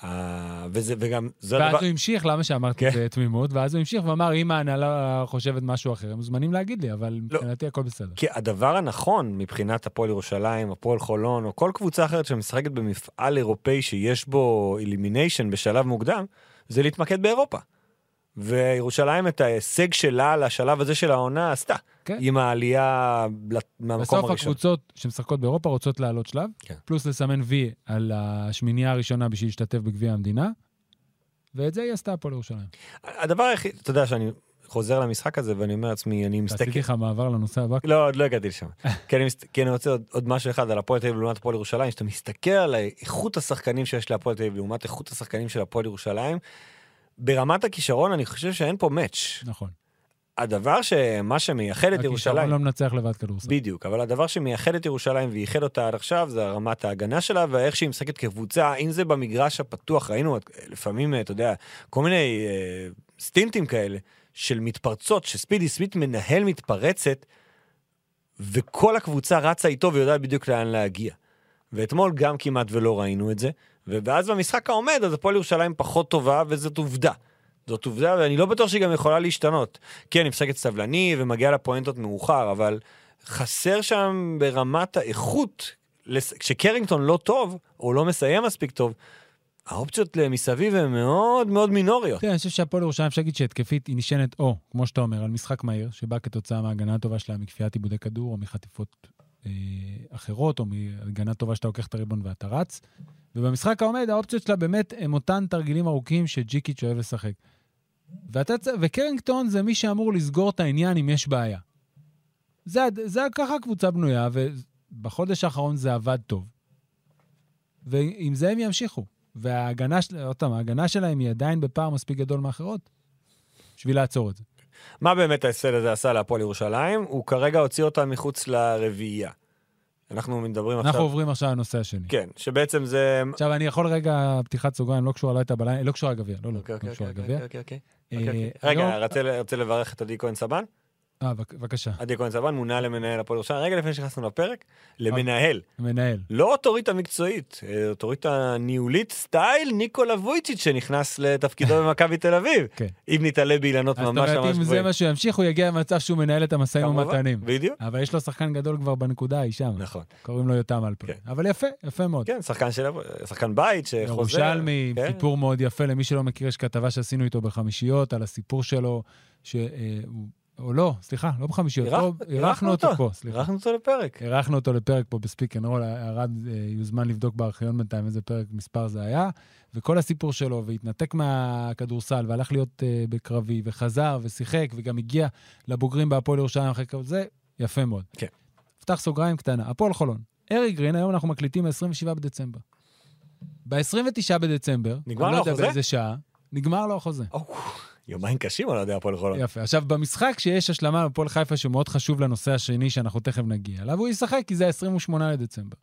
Speaker 3: אה, וזה- וגם, זה הדבר...
Speaker 2: ואז הוא המשיך, למה שאמרתי
Speaker 3: כן.
Speaker 2: בתמימות? ואז הוא המשיך ואמר, אם ההנהלה חושבת משהו אחר, הם מוזמנים להגיד לי, אבל
Speaker 3: לא.
Speaker 2: מבחינתי הכל בסדר.
Speaker 3: כי הדבר הנכון מבחינת הפועל ירושלים, הפועל חולון, או כל קבוצה אחרת שמשחקת במפעל אירופאי שיש בו אלימיניישן בשלב מוקדם, זה להתמקד באירופה. וירושלים את ההישג שלה לשלב הזה של העונה עשתה.
Speaker 2: כן.
Speaker 3: עם העלייה לת- מהמקום
Speaker 2: בסוף
Speaker 3: הראשון.
Speaker 2: הקבוצות שמשחקות באירופה רוצות לעלות שלב,
Speaker 3: כן.
Speaker 2: פלוס לסמן וי על השמינייה הראשונה בשביל להשתתף בגביע המדינה, ואת זה היא עשתה הפועל ירושלים.
Speaker 3: הדבר היחיד, אתה יודע שאני חוזר למשחק הזה ואני אומר לעצמי, אני מסתכל...
Speaker 2: עשיתי לך מעבר לנושא הבא.
Speaker 3: לא, עוד לא הגעתי לשם. כי אני, מסת... כי אני רוצה עוד, עוד משהו אחד על הפועל תל אביב לעומת הפועל ירושלים, שאתה מסתכל על איכות השחקנים שיש להפועל תל אביב לעומת איכות השחקנים של הפועל ירושלים, ברמת הכישרון אני חושב שאין פה מאץ'.
Speaker 2: נכון.
Speaker 3: הדבר שמה שמייחד את
Speaker 2: הכישרון
Speaker 3: ירושלים,
Speaker 2: לא מנצח לבד כדורסל.
Speaker 3: בדיוק, אבל הדבר שמייחד את ירושלים וייחד אותה עד עכשיו זה רמת ההגנה שלה ואיך שהיא משחקת כקבוצה, אם זה במגרש הפתוח, ראינו את- לפעמים, אה, אתה יודע, כל מיני אה, סטינטים כאלה של מתפרצות, שספידי סמית מנהל מתפרצת, וכל הקבוצה רצה איתו ויודעת בדיוק לאן להגיע. ואתמול גם כמעט ולא ראינו את זה, ו- ואז במשחק העומד, אז הפועל ירושלים פחות טובה, וזאת עובדה. זאת עובדה, ואני לא בטוח שהיא גם יכולה להשתנות. כן, היא משחקת סבלני ומגיעה לפואנטות מאוחר, אבל חסר שם ברמת האיכות, לס- כשקרינגטון לא טוב, או לא מסיים מספיק טוב, האופציות מסביב הן מאוד מאוד מינוריות.
Speaker 2: תראה, כן, אני חושב שהפועל ירושלים, אפשר להגיד שהתקפית היא נשענת או, כמו שאתה אומר, על משחק מהיר, שבא כתוצאה מההגנה הטובה שלה מכפיית עיבודי כדור או מחטיפות אה, אחרות, או מהגנה טובה שאתה לוקח את הריבון ואתה רץ. ובמשחק העומד, האופציות שלה באמת הם אותן תרגילים ארוכים שג'יקיץ' אוהב לשחק. ואתה, צ- וקרינגטון זה מי שאמור לסגור את העניין אם יש בעיה. זה, הד- זה ככה הקבוצה בנויה, ובחודש האחרון זה עבד טוב. ועם זה הם ימשיכו. וההגנה, של- עוד פעם, ההגנה שלהם היא עדיין בפער מספיק גדול מאחרות, בשביל לעצור את זה.
Speaker 3: מה באמת ההפסד הזה עשה להפועל ירושלים? הוא כרגע הוציא אותה מחוץ לרביעייה. אנחנו מדברים
Speaker 2: אנחנו
Speaker 3: עכשיו...
Speaker 2: עוברים עכשיו לנושא השני.
Speaker 3: כן, שבעצם זה...
Speaker 2: עכשיו, אני יכול רגע, פתיחת סוגריים, לא קשורה לא הייתה בלילה, לא קשורה לגביע, לא, לא,
Speaker 3: אוקיי,
Speaker 2: לא
Speaker 3: אוקיי,
Speaker 2: קשורה
Speaker 3: אוקיי,
Speaker 2: לגביע.
Speaker 3: אוקיי, אוקיי, אוקיי.
Speaker 2: אה,
Speaker 3: אוקיי.
Speaker 2: היום-
Speaker 3: רגע, רציתי- רציתי לברך את עדי כהן סבן.
Speaker 2: אה, בק- בבקשה,
Speaker 3: עדי כהן סבן מונה למנהל הפועל ירושלים. רגע לפני שנכנסנו לפרק, למנהל.
Speaker 2: מנהל.
Speaker 3: לא אוטוריטה מקצועית, אה, אוטוריטה ניהולית סטייל ניקולה וויצ'יץ' שנכנס לתפקידו במכבי תל אביב.
Speaker 2: כן.
Speaker 3: אם נתעלה באילנות
Speaker 2: אז זאת
Speaker 3: ממש
Speaker 2: אומרת,
Speaker 3: ממש
Speaker 2: אם זה
Speaker 3: גבוהים.
Speaker 2: מה שהוא ימשיך, הוא יגיע למצב שהוא מנהל את המשאים
Speaker 3: כמובן,
Speaker 2: ומתנים.
Speaker 3: בדיוק.
Speaker 2: אבל יש לו שחקן גדול כבר בנקודה, היא שם.
Speaker 3: נכון.
Speaker 2: קוראים לו יותם אלפרין.
Speaker 3: כן.
Speaker 2: אבל יפה, יפה מאוד.
Speaker 3: כן, שחקן של... שחקן בית שחוזר.
Speaker 2: ירושלמי, עם
Speaker 3: כן.
Speaker 2: סיפור מאוד יפה, למי שלא מכיר, יש כתבה שעשינו איתו בחמישיות, על הסיפור שלו, ש... אה, הוא- או לא, סליחה, לא בחמישיות,
Speaker 3: אירח-
Speaker 2: פה- אירחנו אותו פה, סליחה.
Speaker 3: אירחנו אותו לפרק.
Speaker 2: אירחנו אותו לפרק פה בספיק אנד רול, ארד אה, יוזמן לבדוק בארכיון בינתיים איזה פרק מספר זה היה, וכל הסיפור שלו, והתנתק מהכדורסל, והלך להיות אה, בקרבי, וחזר, ושיחק, וגם הגיע לבוגרים בהפועל ירושלים אחרי כל זה, יפה מאוד.
Speaker 3: כן.
Speaker 2: פתח סוגריים קטנה, הפועל חולון. ארי גרין, היום אנחנו מקליטים ב-27 בדצמבר. ב-29 בדצמבר,
Speaker 3: נגמר
Speaker 2: אני
Speaker 3: לו
Speaker 2: לא יודע
Speaker 3: החוזה?
Speaker 2: באיזה שעה, נגמר לו החוזה.
Speaker 3: או, יומיים קשים על אוהדי הפועל חולון.
Speaker 2: יפה. עכשיו, במשחק שיש השלמה בפועל חיפה, שהוא מאוד חשוב לנושא השני, שאנחנו תכף נגיע אליו, הוא ישחק כי זה ה-28 לדצמבר.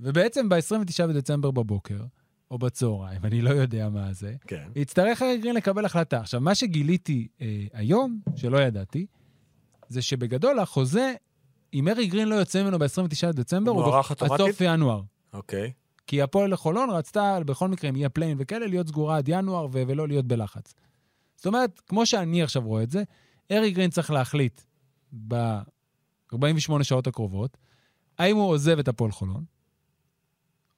Speaker 2: ובעצם ב-29 בדצמבר בבוקר, או בצהריים, אני לא יודע מה זה,
Speaker 3: כן.
Speaker 2: יצטרך ארי גרין לקבל החלטה. עכשיו, מה שגיליתי אה, היום, שלא ידעתי, זה שבגדול החוזה, אם ארי גרין לא יוצא ממנו ב-29 לדצמבר,
Speaker 3: הוא
Speaker 2: בח-
Speaker 3: מוארך
Speaker 2: עד
Speaker 3: אוטומטית?
Speaker 2: סוף ינואר.
Speaker 3: אוקיי.
Speaker 2: כי הפועל חולון רצתה, בכל מקרה, אם יהיה פליין וכאלה, להיות סגורה עד ינואר ו- ולא להיות בלחץ. זאת אומרת, כמו שאני עכשיו רואה את זה, ארי גרין צריך להחליט ב-48 שעות הקרובות, האם הוא עוזב את הפועל חולון,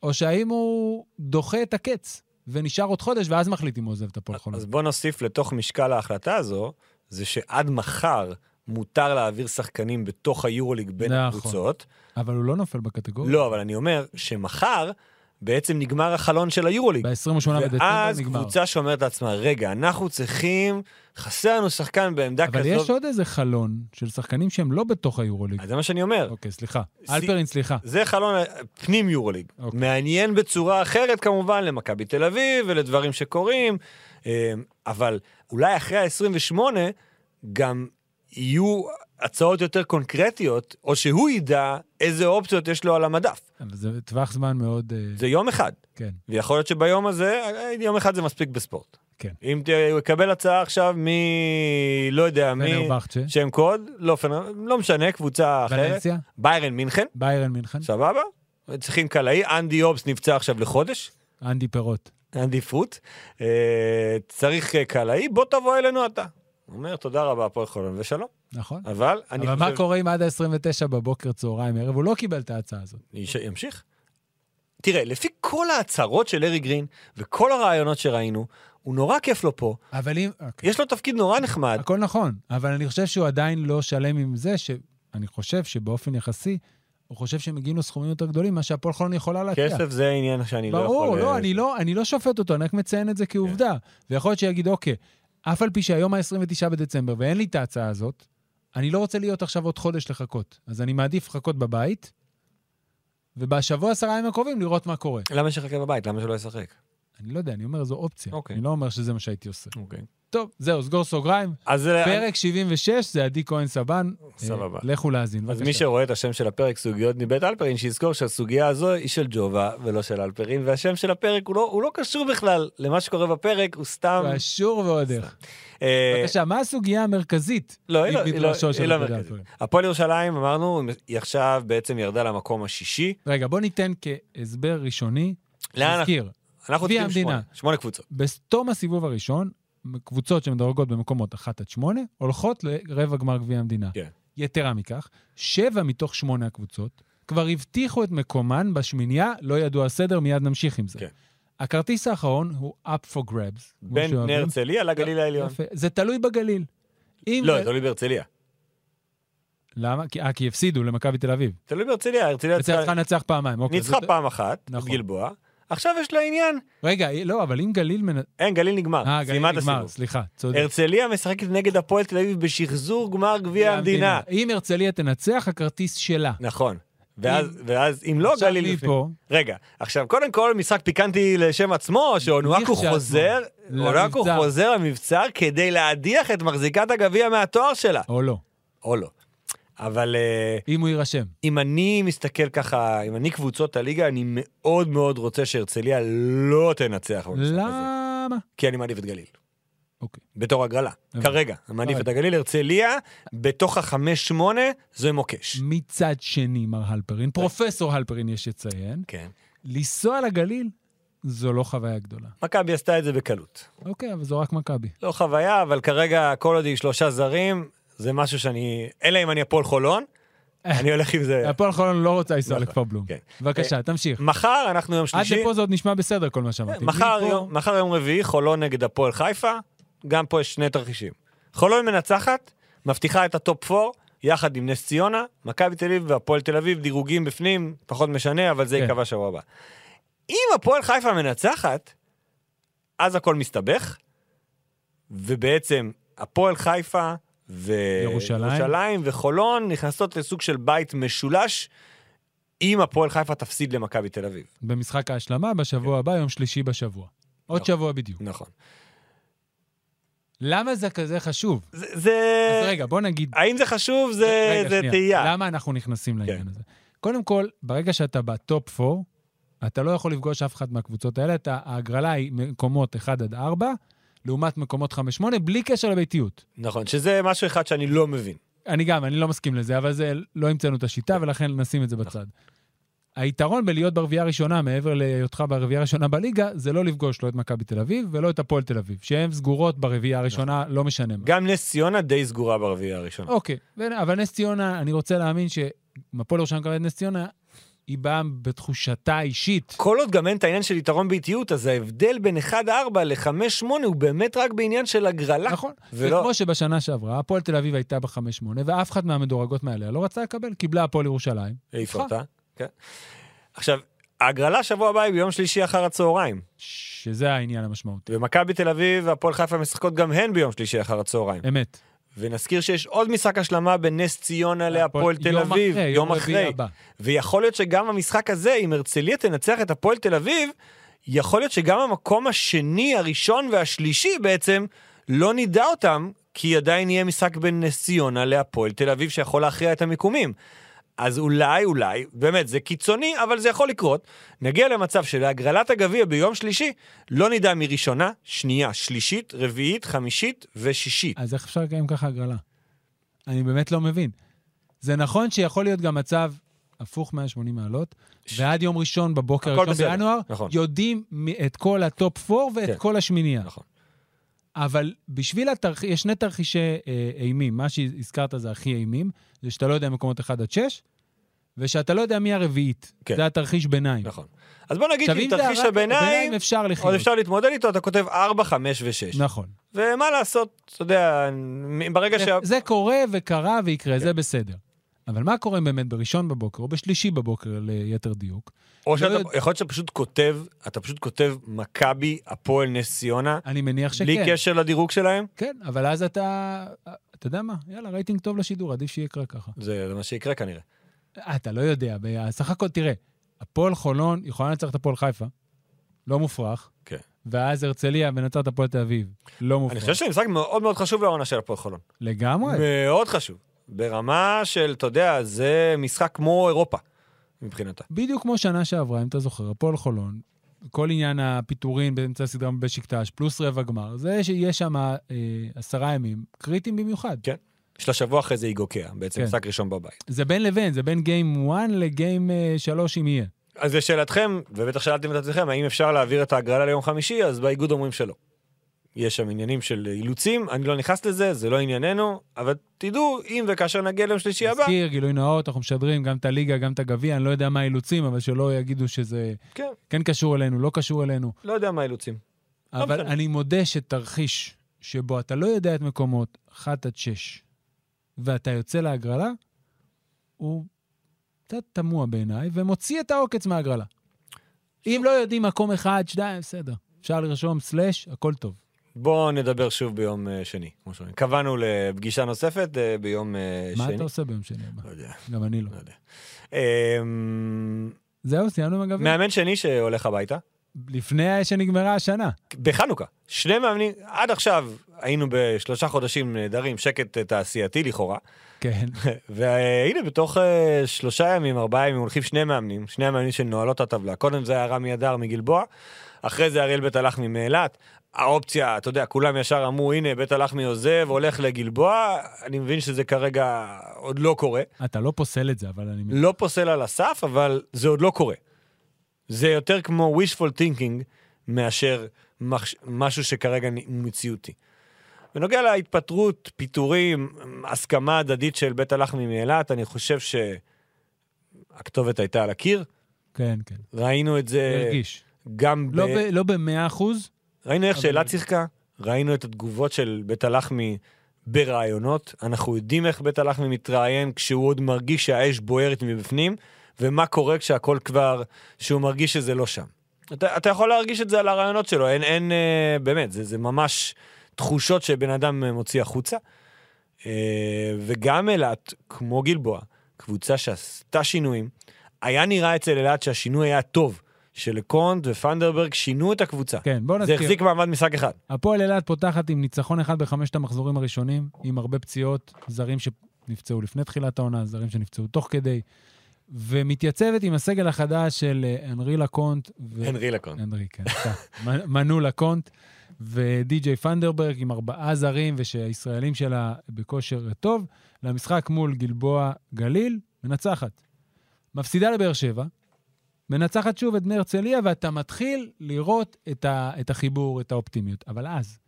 Speaker 2: או שהאם הוא דוחה את הקץ ונשאר עוד חודש, ואז מחליט אם הוא עוזב את הפועל חולון.
Speaker 3: אז בוא נוסיף לתוך משקל ההחלטה הזו, זה שעד מחר מותר להעביר שחקנים בתוך היורוליג בין
Speaker 2: נכון.
Speaker 3: הקבוצות.
Speaker 2: אבל הוא לא נופל בקטגוריה.
Speaker 3: לא, אבל אני אומר שמחר בעצם נגמר החלון של היורוליג.
Speaker 2: ב-28 בדצמבר
Speaker 3: ואז
Speaker 2: לא נגמר.
Speaker 3: קבוצה שאומרת לעצמה, רגע, אנחנו צריכים, חסר לנו שחקן בעמדה
Speaker 2: אבל יש
Speaker 3: כזאת.
Speaker 2: עוד איזה חלון של שחקנים שהם לא בתוך היורוליג.
Speaker 3: אז זה מה שאני אומר.
Speaker 2: אוקיי, סליחה.
Speaker 3: סי-
Speaker 2: אלפרין, סליחה.
Speaker 3: זה חלון אה, פנים יורוליג.
Speaker 2: אוקיי.
Speaker 3: מעניין בצורה אחרת כמובן למכבי תל אביב ולדברים שקורים, אה, אבל אולי אחרי ה-28 גם יהיו הצעות יותר קונקרטיות, או שהוא ידע איזה אופציות יש לו על המדף.
Speaker 2: אבל זה טווח זמן מאוד... אה,
Speaker 3: זה יום אחד,
Speaker 2: כן.
Speaker 3: ויכול להיות שביום הזה, אה, יום אחד זה מספיק בספורט.
Speaker 2: כן.
Speaker 3: אם ת- הוא יקבל הצעה עכשיו מ... לא יודע, מ...
Speaker 2: פנרבחצ'ה,
Speaker 3: שם קוד, לא, פנר... לא משנה, קבוצה אחרת,
Speaker 2: ולנסיה,
Speaker 3: ביירן מינכן,
Speaker 2: ביירן מינכן,
Speaker 3: סבבה? צריכים קלעי, אנדי אובס נפצע עכשיו לחודש,
Speaker 2: אנדי פירוט.
Speaker 3: אנדי פרוט. אה, צריך אה, קלעי, בוא תבוא אלינו אתה. הוא אומר, תודה רבה, הפועל חולון ושלום.
Speaker 2: נכון.
Speaker 3: אבל אני
Speaker 2: אבל מה
Speaker 3: חושב...
Speaker 2: קורה אם עד ה-29 בבוקר, צהריים, ערב, הוא לא קיבל את ההצעה הזאת.
Speaker 3: יש- ימשיך. תראה, לפי כל ההצהרות של ארי גרין וכל הרעיונות שראינו, הוא נורא כיף לו פה,
Speaker 2: אבל אם... אוקיי.
Speaker 3: יש לו תפקיד נורא נחמד.
Speaker 2: הכל נכון, אבל אני חושב שהוא עדיין לא שלם עם זה, ש... אני חושב שבאופן יחסי, הוא חושב שהם מגיעים לסכומים יותר גדולים, מה שהפועל חולון יכולה להציע.
Speaker 3: כסף זה עניין שאני לא יכול...
Speaker 2: כן. ברור,
Speaker 3: אה, כן.
Speaker 2: לא, אני לא, אני לא שופט אותו, אני רק מציין את זה כעובדה. ויכול להיות שיגיד, אוקיי, אף על פי שהיום ה-29 בדצמבר ואין לי את ההצעה הזאת, אני לא רוצה להיות עכשיו עוד חודש לחכות. אז אני מעדיף לחכות בבית, ובשבוע עשרה ימים הקרובים לראות מה קורה.
Speaker 3: למה שיחכה בבית? למה שלא ישחק?
Speaker 2: אני לא יודע, אני אומר, זו אופציה.
Speaker 3: אוקיי.
Speaker 2: אני לא אומר שזה מה שהייתי עושה.
Speaker 3: אוקיי.
Speaker 2: טוב, זהו, סגור סוגריים.
Speaker 3: אז אה,
Speaker 2: פרק 76, זה עדי כהן סבן.
Speaker 3: סבבה.
Speaker 2: אה, לכו להאזין,
Speaker 3: אז
Speaker 2: בבקשה.
Speaker 3: מי שרואה את השם של הפרק סוגיות מבית אלפרין, שיזכור שהסוגיה הזו היא של ג'ובה ולא של אלפרין, והשם של הפרק הוא לא, הוא לא קשור בכלל למה שקורה בפרק, הוא סתם...
Speaker 2: קשור ועוד איך.
Speaker 3: אה,
Speaker 2: לא, בבקשה, מה הסוגיה המרכזית?
Speaker 3: לא, היא לא- היא לא-
Speaker 2: במדרשו של
Speaker 3: היא לא
Speaker 2: הפרק?
Speaker 3: מרכזית. הפועל ירושלים, אמרנו, היא עכשיו בעצם ירדה למקום השישי.
Speaker 2: רגע, בוא ניתן כהסבר ראשוני.
Speaker 3: לאן אנחנו-
Speaker 2: נזכיר,
Speaker 3: אנחנו
Speaker 2: גביע
Speaker 3: צריכים שמונה,
Speaker 2: המדינה.
Speaker 3: שמונה קבוצות.
Speaker 2: בתום הסיבוב הראשון, קבוצות שמדרגות במקומות 1 עד 8, הולכות לרבע גמר גביע המדינה.
Speaker 3: כן.
Speaker 2: יתרה מכך, שבע מתוך שמונה הקבוצות כבר הבטיחו את מקומן בשמינייה, לא ידוע הסדר, מיד נמשיך עם זה.
Speaker 3: כן.
Speaker 2: הכרטיס האחרון הוא up for grabs. כמו
Speaker 3: בין
Speaker 2: שאוהבים.
Speaker 3: בני הרצליה לגליל העליון.
Speaker 2: יפה. זה תלוי בגליל. אם
Speaker 3: לא, זה תלוי בהרצליה.
Speaker 2: למה? כי- אה, כי הפסידו למכבי תל אביב.
Speaker 3: תלוי בהרצליה, הרצליה
Speaker 2: הרצליה צריכה לנצח פעמיים. אוקיי,
Speaker 3: ניצחה
Speaker 2: זאת-
Speaker 3: פעם אחת, את
Speaker 2: נכון.
Speaker 3: גלבוע, עכשיו יש לה עניין.
Speaker 2: רגע, לא, אבל אם גליל מנ...
Speaker 3: אין, גליל נגמר,
Speaker 2: אה, גליל
Speaker 3: סיימה את
Speaker 2: נגמר,
Speaker 3: הסיבוב.
Speaker 2: סליחה, צודק.
Speaker 3: הרצליה משחקת נגד הפועל תל אביב בשחזור גמר גביע המדינה.
Speaker 2: אם הרצליה תנצח, הכרטיס שלה.
Speaker 3: נכון. ואז, ואז אם לא,
Speaker 2: עכשיו
Speaker 3: גליל
Speaker 2: היא
Speaker 3: לפני.
Speaker 2: פה.
Speaker 3: רגע, עכשיו, קודם כל, משחק פיקנטי לשם עצמו, שאונואקו
Speaker 2: לכשעצמו.
Speaker 3: חוזר, אונואקו
Speaker 2: למבצר.
Speaker 3: חוזר למבצר כדי להדיח את מחזיקת הגביע מהתואר שלה.
Speaker 2: או לא,
Speaker 3: או לא. אבל אה,
Speaker 2: אם הוא יירשם.
Speaker 3: אם אני מסתכל ככה, אם אני קבוצות הליגה, אני מאוד מאוד רוצה שהרצליה לא תנצח במשחק הזה.
Speaker 2: למה?
Speaker 3: כי אני מעדיף את גליל.
Speaker 2: אוקיי.
Speaker 3: בתור הגרלה.
Speaker 2: הבנתי.
Speaker 3: כרגע, אני מעדיף
Speaker 2: הבנתי.
Speaker 3: את הגליל. הרצליה, בתוך החמש שמונה, זה מוקש.
Speaker 2: מצד שני, מר הלפרין, פרופסור הלפרין, יש לציין,
Speaker 3: כן.
Speaker 2: לנסוע לגליל זו לא חוויה גדולה.
Speaker 3: מכבי עשתה את זה בקלות.
Speaker 2: אוקיי, אבל זו רק מכבי.
Speaker 3: לא חוויה, אבל כרגע כל עוד היא שלושה זרים, זה משהו שאני... אלא אם אני הפועל חולון, אני הולך עם זה.
Speaker 2: הפועל חולון לא רוצה לנסוע
Speaker 3: נכון,
Speaker 2: לכפר בלום.
Speaker 3: כן.
Speaker 2: בבקשה, תמשיך.
Speaker 3: מחר אנחנו יום
Speaker 2: עד
Speaker 3: שלישי.
Speaker 2: לפה זה עוד נשמע בסדר, כל מה שאמרתי.
Speaker 3: מחר
Speaker 2: מפה-
Speaker 3: יום- מחר יום רביעי, חולון נגד הפועל חיפה, גם פה יש שני תרחישים. חולון מנצחת, מבטיחה את הטופ 4, יחד עם נס ציונה, מכבי תל אביב והפועל תל אביב, דירוגים בפנים, פחות משנה, אבל זה
Speaker 2: כן.
Speaker 3: ייקבע שבוע הבא. אם הפועל חיפה מנצחת, אז הכל מסתבך, ובעצם הפועל חיפה ו...
Speaker 2: ירושלים.
Speaker 3: ירושלים וחולון נכנסות לסוג של בית משולש, אם הפועל חיפה תפסיד למכבי תל אביב.
Speaker 2: במשחק ההשלמה, בשבוע הבא, יום שלישי בשבוע. עוד
Speaker 3: נכון.
Speaker 2: שבוע בדיוק.
Speaker 3: נכון.
Speaker 2: למה זה כזה חשוב?
Speaker 3: זה... זה...
Speaker 2: אז רגע, בוא נגיד...
Speaker 3: האם זה חשוב? זה,
Speaker 2: רגע,
Speaker 3: זה
Speaker 2: שנייה.
Speaker 3: תהייה.
Speaker 2: למה אנחנו נכנסים לעניין
Speaker 3: כן.
Speaker 2: הזה? קודם כל, ברגע שאתה בטופ 4, אתה לא יכול לפגוש אף אחת מהקבוצות האלה, אתה, ההגרלה היא מקומות 1 עד 4, לעומת מקומות 5-8, בלי קשר לביתיות.
Speaker 3: נכון, שזה משהו אחד שאני לא מבין.
Speaker 2: אני גם, אני לא מסכים לזה, אבל זה, לא המצאנו את השיטה, ולכן נשים
Speaker 3: נכון.
Speaker 2: את זה בצד. היתרון בלהיות ברביעייה הראשונה, מעבר להיותך ברביעייה הראשונה בליגה, זה לא לפגוש לא את מכבי תל אביב ולא את הפועל תל אביב, שהן סגורות ברביעייה הראשונה,
Speaker 3: נכון.
Speaker 2: לא משנה מה.
Speaker 3: גם נס ציונה די סגורה ברביעייה הראשונה.
Speaker 2: אוקיי, ו- אבל נס ציונה, אני רוצה להאמין שמפועל ירושלים מקבלת נס ציונה, היא באה בתחושתה האישית.
Speaker 3: כל עוד גם אין את העניין של יתרון באיטיות, אז ההבדל בין 1-4 ל-5-8 הוא באמת רק בעניין של הגרלה.
Speaker 2: נכון.
Speaker 3: ולא-
Speaker 2: וכמו שבשנה שעברה, הפועל תל אביב הייתה ב-5-8, ואף אחת מהמדורגות מעליה לא רצה לקבל, קיבלה הפועל ירושלים. נכון?
Speaker 3: העיפה אותה. כן. עכשיו, ההגרלה שבוע הבא היא ביום שלישי אחר הצהריים.
Speaker 2: שזה העניין המשמעותי.
Speaker 3: ומכבי תל אביב והפועל חיפה משחקות גם הן ביום שלישי אחר הצהריים.
Speaker 2: אמת.
Speaker 3: ונזכיר שיש עוד משחק השלמה בין נס ציונה להפועל תל
Speaker 2: יום
Speaker 3: אביב,
Speaker 2: אחרי,
Speaker 3: יום
Speaker 2: רביעי
Speaker 3: אחרי.
Speaker 2: הבא.
Speaker 3: ויכול להיות שגם המשחק הזה, אם הרצליה תנצח את הפועל תל אביב, יכול להיות שגם המקום השני, הראשון והשלישי בעצם, לא נדע אותם, כי עדיין יהיה משחק בין נס ציונה להפועל תל אביב שיכול להכריע את המיקומים. אז אולי, אולי, באמת, זה קיצוני, אבל זה יכול לקרות. נגיע למצב שלהגרלת הגביע ביום שלישי, לא נדע מי ראשונה, שנייה, שלישית, רביעית, חמישית ושישית.
Speaker 2: אז איך אפשר לקיים ככה הגרלה? אני באמת לא מבין. זה נכון שיכול להיות גם מצב הפוך 180 מעלות,
Speaker 3: ש-
Speaker 2: ועד יום ראשון בבוקר,
Speaker 3: הכל
Speaker 2: ראשון
Speaker 3: בסדר,
Speaker 2: בינואר,
Speaker 3: נכון.
Speaker 2: יודעים מ- את כל הטופ 4 ואת
Speaker 3: כן.
Speaker 2: כל השמינייה.
Speaker 3: נכון.
Speaker 2: אבל בשביל התרחיש, יש שני תרחישי אה, אימים. מה שהזכרת זה הכי אימים, זה שאתה לא יודע מקומות 1 עד 6, ושאתה לא יודע מי הרביעית.
Speaker 3: כן.
Speaker 2: זה התרחיש ביניים.
Speaker 3: נכון. אז בוא נגיד
Speaker 2: עכשיו,
Speaker 3: שעם
Speaker 2: אם זה
Speaker 3: תרחיש
Speaker 2: רק-
Speaker 3: הביניים,
Speaker 2: ביניים אפשר
Speaker 3: עוד
Speaker 2: לחיות.
Speaker 3: אפשר להתמודד איתו, אתה כותב 4, 5 ו-6.
Speaker 2: נכון.
Speaker 3: ומה לעשות, אתה יודע, מ- ברגע שה...
Speaker 2: זה- כן, זה קורה וקרה ויקרה,
Speaker 3: כן.
Speaker 2: זה בסדר. אבל מה קורה אם באמת בראשון בבוקר, או בשלישי בבוקר ליתר דיוק?
Speaker 3: או שאתה,
Speaker 2: לא יודע.
Speaker 3: יכול להיות שאתה פשוט כותב, אתה פשוט כותב מכבי, הפועל, נס ציונה,
Speaker 2: אני מניח שכן.
Speaker 3: בלי קשר לדירוג שלהם,
Speaker 2: כן, אבל אז אתה... אתה יודע מה? יאללה, רייטינג טוב לשידור, עדיף שיקרה ככה.
Speaker 3: זה זה מה שיקרה כנראה.
Speaker 2: אה, אתה לא יודע, ב- סך הכל, תראה, הפועל חולון יכולה לנצח את הפועל חיפה, לא מופרך.
Speaker 3: כן.
Speaker 2: ואז הרצליה מנצח את הפועל תל אביב, לא מופרך.
Speaker 3: אני חושב שזה משחק מאוד מאוד חשוב לעונה של הפועל חולון.
Speaker 2: לגמרי.
Speaker 3: מאוד חשוב. ברמה של, אתה יודע, זה משחק כמו אירופה, מבחינתה.
Speaker 2: בדיוק כמו שנה שעברה, אם אתה זוכר, הפועל חולון, כל עניין הפיטורים באמצע הסדרה בשקטש, פלוס רבע גמר, זה שיש שם אה, עשרה ימים, קריטיים במיוחד.
Speaker 3: כן. יש לה שבוע אחרי זה היא גוקע, בעצם
Speaker 2: כן.
Speaker 3: משחק ראשון בבית.
Speaker 2: זה בין לבין, זה בין גיים 1 לגיים 3 אה, אם יהיה.
Speaker 3: אז לשאלתכם, ובטח שאלתם את עצמכם, האם אפשר להעביר את ההגרלה ליום חמישי, אז באיגוד אומרים שלא. יש שם עניינים של אילוצים, אני לא נכנס לזה, זה לא ענייננו, אבל תדעו, אם וכאשר נגיע ליום שלישי הבא,
Speaker 2: נזכיר, גילוי נאות, אנחנו משדרים גם את הליגה, גם את הגביע, אני לא יודע מה האילוצים, אבל שלא יגידו שזה
Speaker 3: כן,
Speaker 2: כן קשור אלינו, לא קשור אלינו.
Speaker 3: לא יודע מה האילוצים. לא
Speaker 2: אבל
Speaker 3: משנה.
Speaker 2: אני מודה שתרחיש שבו אתה לא יודע את מקומות 1 עד 6, ואתה יוצא להגרלה, הוא קצת תמוה בעיניי, ומוציא את העוקץ מהגרלה. אם לא יודעים מקום אחד, שתיים, בסדר. אפשר לרשום סלאש, הכל טוב.
Speaker 3: בואו נדבר שוב ביום אה, שני, כמו שאומרים. קבענו לפגישה נוספת אה, ביום אה,
Speaker 2: מה
Speaker 3: שני.
Speaker 2: אתה עושה ביום שני הבא?
Speaker 3: לא יודע,
Speaker 2: גם אני לא.
Speaker 3: לא יודע. אמ,
Speaker 2: זהו, סיימנו עם הגביע.
Speaker 3: מאמן שני שהולך הביתה,
Speaker 2: לפני שנגמרה השנה.
Speaker 3: בחנוכה. שני מאמנים, עד עכשיו היינו בשלושה חודשים נהדרים, שקט אה, תעשייתי לכאורה,
Speaker 2: כן.
Speaker 3: והנה בתוך אה, שלושה ימים, ארבעה ימים, הולכים שני מאמנים, שני המאמנים שנועלות את הטבלה. קודם זה היה רמי אדר מגלבוע, אחרי זה אריאל בית הלחמי מאילת. האופציה, אתה יודע, כולם ישר אמרו, הנה, בית הלחמי עוזב, הולך לגלבוע, אני מבין שזה כרגע עוד לא קורה.
Speaker 2: אתה לא פוסל את זה, אבל אני...
Speaker 3: לא פוסל על הסף, אבל זה עוד לא קורה. זה יותר כמו wishful thinking מאשר מחש... משהו שכרגע נ- הוא מציאותי. בנוגע להתפטרות, פיטורים, הסכמה הדדית של בית הלחמי מאילת, אני חושב שהכתובת הייתה על הקיר.
Speaker 2: כן, כן.
Speaker 3: ראינו את זה
Speaker 2: הרגיש.
Speaker 3: גם
Speaker 2: לא ב- לא במאה אחוז,
Speaker 3: ראינו איך
Speaker 2: אבל-
Speaker 3: שאילת שיחקה, ראינו את התגובות של בית הלחמי ברעיונות, אנחנו יודעים איך בית הלחמי מתראיין כשהוא עוד מרגיש שהאש בוערת מבפנים, ומה קורה כשהכל כבר, שהוא מרגיש שזה לא שם. אתה, אתה יכול להרגיש את זה על הרעיונות שלו, אין, אין, אה, באמת, זה, זה ממש תחושות שבן אדם אה, מוציא החוצה. אה, וגם אילת, כמו גלבוע, קבוצה שעשתה שינויים, היה נראה אצל אילת שהשינוי היה טוב, שלקונט ופנדרברג שינו את הקבוצה.
Speaker 2: כן, בוא
Speaker 3: זה
Speaker 2: נזכיר.
Speaker 3: החזיק מעמד משחק אחד.
Speaker 2: הפועל אילת פותחת עם ניצחון אחד בחמשת המחזורים הראשונים, עם הרבה פציעות, זרים שנפצעו לפני תחילת העונה, זרים שנפצעו תוך כדי, ומתייצבת עם הסגל החדש של אה, אנרי לקונט. ו-
Speaker 3: הנרי לקון.
Speaker 2: אנרי, כן, סתם. מנ- מנו לקונט ודי.ג'יי פנדרברג עם ארבעה זרים, ושהישראלים שלה בכושר טוב, למשחק מול גלבוע גליל, מנצחת. מפסידה לבאר שבע, מנצחת שוב את בני הרצליה, ואתה מתחיל לראות את, ה, את החיבור, את האופטימיות. אבל אז,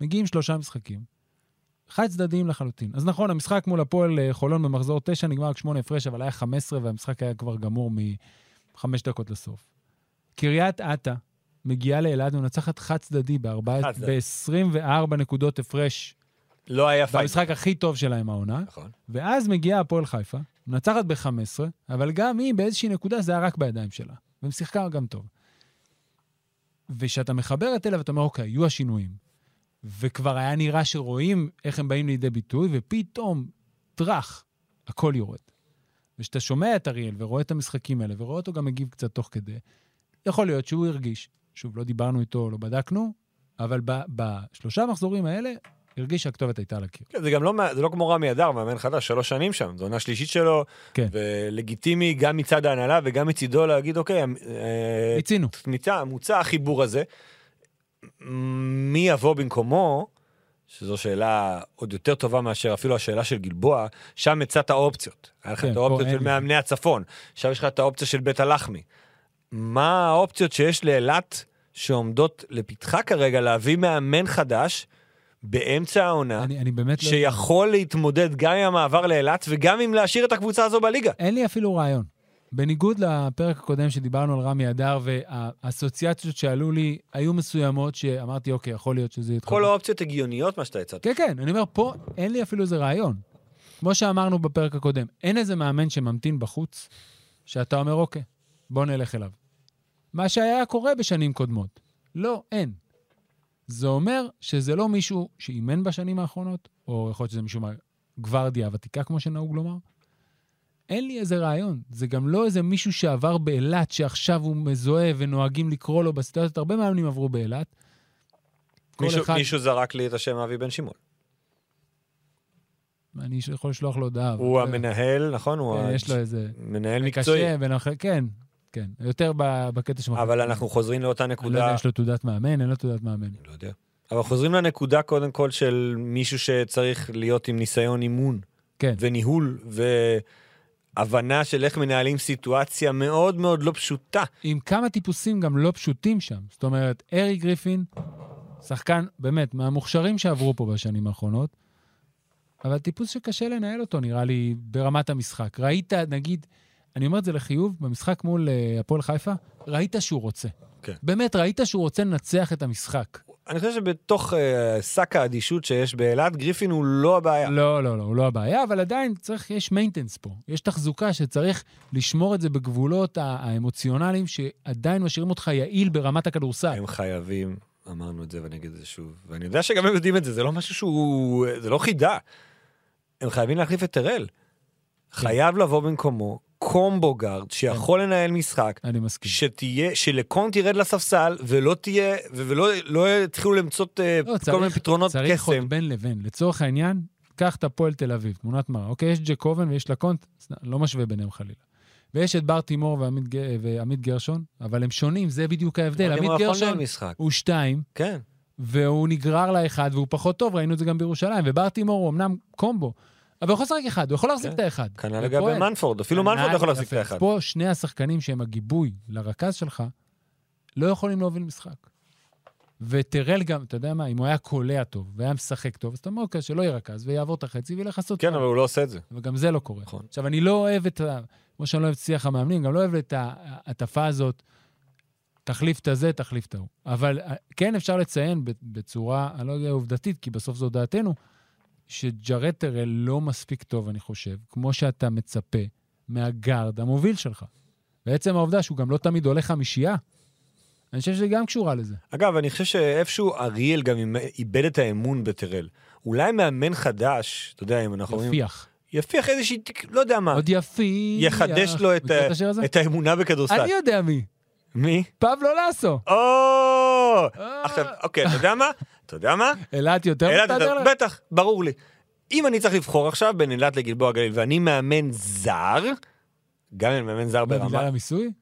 Speaker 2: מגיעים שלושה משחקים, חד צדדיים לחלוטין. אז נכון, המשחק מול הפועל אה, חולון במחזור 9 נגמר רק 8 הפרש, אבל היה 15 והמשחק היה כבר גמור מחמש דקות לסוף. קריית אתא מגיעה לאילת ומנצחת חד צדדי
Speaker 3: חד צדדי.
Speaker 2: ב-24 נקודות הפרש,
Speaker 3: לא היה פייט.
Speaker 2: במשחק הכי טוב שלהם העונה.
Speaker 3: נכון.
Speaker 2: ואז מגיעה הפועל חיפה, מנצחת ב-15, אבל גם היא באיזושהי נקודה זה היה רק בידיים שלה. ומשחקה גם טוב. וכשאתה מחבר את אלה ואתה אומר, אוקיי, היו השינויים, וכבר היה נראה שרואים איך הם באים לידי ביטוי, ופתאום, טראח, הכל יורד. וכשאתה שומע את אריאל ורואה את המשחקים האלה, ורואה אותו גם מגיב קצת תוך כדי, יכול להיות שהוא הרגיש, שוב, לא דיברנו איתו, לא בדקנו, אבל ב- בשלושה המחזורים האלה, הרגיש שהכתובת הייתה על הקיר.
Speaker 3: כן, זה גם לא, מה- זה לא כמו רמי אדר, מאמן חדש, שלוש שנים שם, זו עונה שלישית שלו,
Speaker 2: כן.
Speaker 3: ולגיטימי גם מצד ההנהלה וגם מצידו להגיד, אוקיי, המ- אה,
Speaker 2: מיצינו.
Speaker 3: מיצה, מוצע החיבור הזה. מי יבוא במקומו, שזו שאלה עוד יותר טובה מאשר אפילו השאלה של גלבוע, שם הצעת האופציות. היה לך
Speaker 2: כן,
Speaker 3: את
Speaker 2: פה
Speaker 3: האופציות
Speaker 2: אין
Speaker 3: של
Speaker 2: לי.
Speaker 3: מאמני הצפון, עכשיו יש לך את האופציה של בית הלחמי. מה האופציות שיש לאילת שעומדות לפתחה כרגע להביא מאמן חדש באמצע העונה,
Speaker 2: אני, אני באמת לא...
Speaker 3: שיכול להתמודד גם עם המעבר לאילת וגם עם להשאיר את הקבוצה הזו בליגה?
Speaker 2: אין לי אפילו רעיון. בניגוד לפרק הקודם שדיברנו על רמי אדר, והאסוציאציות שעלו לי היו מסוימות, שאמרתי, אוקיי, יכול להיות שזה יהיה...
Speaker 3: כל האופציות הגיוניות, מה שאתה הצעת.
Speaker 2: כן, כן, אני אומר, פה אין לי אפילו איזה רעיון. כמו שאמרנו בפרק הקודם, אין איזה מאמן שממתין בחוץ, שאתה אומר, אוקיי, בוא נלך אליו. מה שהיה קורה בשנים קודמות. לא, אין. זה אומר שזה לא מישהו שאימן בשנים האחרונות, או יכול להיות שזה מישהו מהגוורדיה הוותיקה, כמו שנהוג לומר. אין לי איזה רעיון. זה גם לא איזה מישהו שעבר באילת, שעכשיו הוא מזוהה ונוהגים לקרוא לו בסיטואציות. הרבה מאמנים עברו באילת. כל
Speaker 3: מישהו,
Speaker 2: אחד-
Speaker 3: מישהו זרק לי את השם אבי בן שמעון.
Speaker 2: אני יכול לשלוח לו הודעה. אבל
Speaker 3: הוא
Speaker 2: זה-
Speaker 3: המנהל, נכון? הוא
Speaker 2: כן,
Speaker 3: ה-
Speaker 2: יש לו איזה...
Speaker 3: מנהל מקצועי.
Speaker 2: קשה ונוח... כן, כן. יותר ב- בקטע שמחליט.
Speaker 3: אבל אנחנו חוזרים לאותה
Speaker 2: אני לא
Speaker 3: נקודה...
Speaker 2: יודע, יש לו תעודת מאמן, אין לו תעודת מאמן.
Speaker 3: לא יודע. אבל חוזרים לנקודה קודם כל של מישהו שצריך להיות עם ניסיון אימון
Speaker 2: כן.
Speaker 3: וניהול והבנה של איך מנהלים סיטואציה מאוד מאוד לא פשוטה.
Speaker 2: עם כמה טיפוסים גם לא פשוטים שם. זאת אומרת, ארי גריפין, שחקן באמת מהמוכשרים שעברו פה בשנים האחרונות, אבל טיפוס שקשה לנהל אותו, נראה לי, ברמת המשחק. ראית, נגיד, אני אומר את זה לחיוב, במשחק מול אה, הפועל חיפה, ראית שהוא רוצה.
Speaker 3: כן.
Speaker 2: באמת, ראית שהוא רוצה לנצח את המשחק.
Speaker 3: אני חושב שבתוך אה, שק האדישות שיש באילת, גריפין הוא לא הבעיה.
Speaker 2: לא, לא, לא, הוא לא הבעיה, אבל עדיין צריך, יש מיינטנס פה. יש תחזוקה שצריך לשמור את זה בגבולות ה- האמוציונליים, שעדיין משאירים אותך יעיל ברמת הכדורסל.
Speaker 3: הם חייבים, אמרנו את זה ואני אגיד את זה שוב, ואני יודע שגם הם יודעים את זה, זה לא משהו שהוא... זה לא חידה. הם חייבים להחליף את טרל. חייב לבוא במקומו קומבו גארד שיכול
Speaker 2: כן.
Speaker 3: לנהל משחק,
Speaker 2: אני מסכים.
Speaker 3: שתהיה, שלקום תרד לספסל ולא תהיה, ו- ולא לא יתחילו למצות אה,
Speaker 2: לא,
Speaker 3: כל מיני פתרונות
Speaker 2: צריך עוד
Speaker 3: קסם.
Speaker 2: בין לבין. לצורך העניין, קח את הפועל תל אביב, תמונת מראה. אוקיי, יש ג'קובן ויש לקונט, סתם, לא משווה ביניהם חלילה. ויש את בר תימור ועמית, ג- ועמית גרשון, אבל הם שונים, זה בדיוק ההבדל.
Speaker 3: אבל אם
Speaker 2: עמית
Speaker 3: הוא יכול
Speaker 2: גרשון
Speaker 3: לנהל משחק,
Speaker 2: הוא שתיים,
Speaker 3: נכון כן.
Speaker 2: והוא נגרר לאחד, והוא פחות טוב, ראינו את זה גם בירושלים. ובר תימור הוא אמנם קומבו, אבל הוא יכול לשחק אחד, הוא יכול להחזיק
Speaker 3: כן.
Speaker 2: את האחד.
Speaker 3: כנ"ל
Speaker 2: ופועל.
Speaker 3: לגבי מנפורד, אפילו מנפורד לא יכול להחזיק את
Speaker 2: יפה.
Speaker 3: האחד.
Speaker 2: פה שני השחקנים שהם הגיבוי לרכז שלך, לא יכולים להוביל משחק. וטרל גם, אתה יודע מה, אם הוא היה קולע טוב והיה משחק טוב, אז אתה אומר, אוקיי, שלא יהיה רכז ויעבור את החצי וילך לעשות...
Speaker 3: כן,
Speaker 2: פאול."
Speaker 3: אבל הוא לא עושה את זה.
Speaker 2: אבל גם זה לא קורה.
Speaker 3: נכון.
Speaker 2: עכשיו, אני לא אוהב את ה... כמו שאני לא אוהב את שיח המאמנים, גם לא אוהב את ההטפה הזאת, תחליף את הזה, תחליף את ההוא. אבל אה, כן אפשר לציין ב- בצורה, אני לא יודע, עובדתית, כי בסוף זו דעתנו, שג'רד טרל לא מספיק טוב, אני חושב, כמו שאתה מצפה מהגארד המוביל שלך. בעצם העובדה שהוא גם לא תמיד עולה חמישייה, אני חושב שזה גם קשורה לזה.
Speaker 3: אגב, אני חושב שאיפשהו אריאל גם איבד את האמון בטרל. אולי מאמן חדש, אתה יודע, אם אנחנו אומרים...
Speaker 2: יפיח.
Speaker 3: יפיח איזושהי, תק- לא יודע מה,
Speaker 2: עוד יפיח.
Speaker 3: יחדש לו את,
Speaker 2: מכיר
Speaker 3: ה-
Speaker 2: את השיר הזה?
Speaker 3: את האמונה בכדורסל.
Speaker 2: אני יודע מי.
Speaker 3: מי?
Speaker 2: פבלו לסו.
Speaker 3: או!
Speaker 2: אה!
Speaker 3: עכשיו, אוקיי, אתה יודע מה? אתה יודע מה?
Speaker 2: אילת יותר
Speaker 3: אילת,
Speaker 2: מסתדר
Speaker 3: אתה-
Speaker 2: לך?
Speaker 3: בטח, ברור לי. אם אני צריך לבחור עכשיו בין אילת לגלבוע גליל, ואני מאמן זר, גם אם אני מאמן זר
Speaker 2: מה, לא, בגלל
Speaker 3: ברמה,
Speaker 2: המיסוי?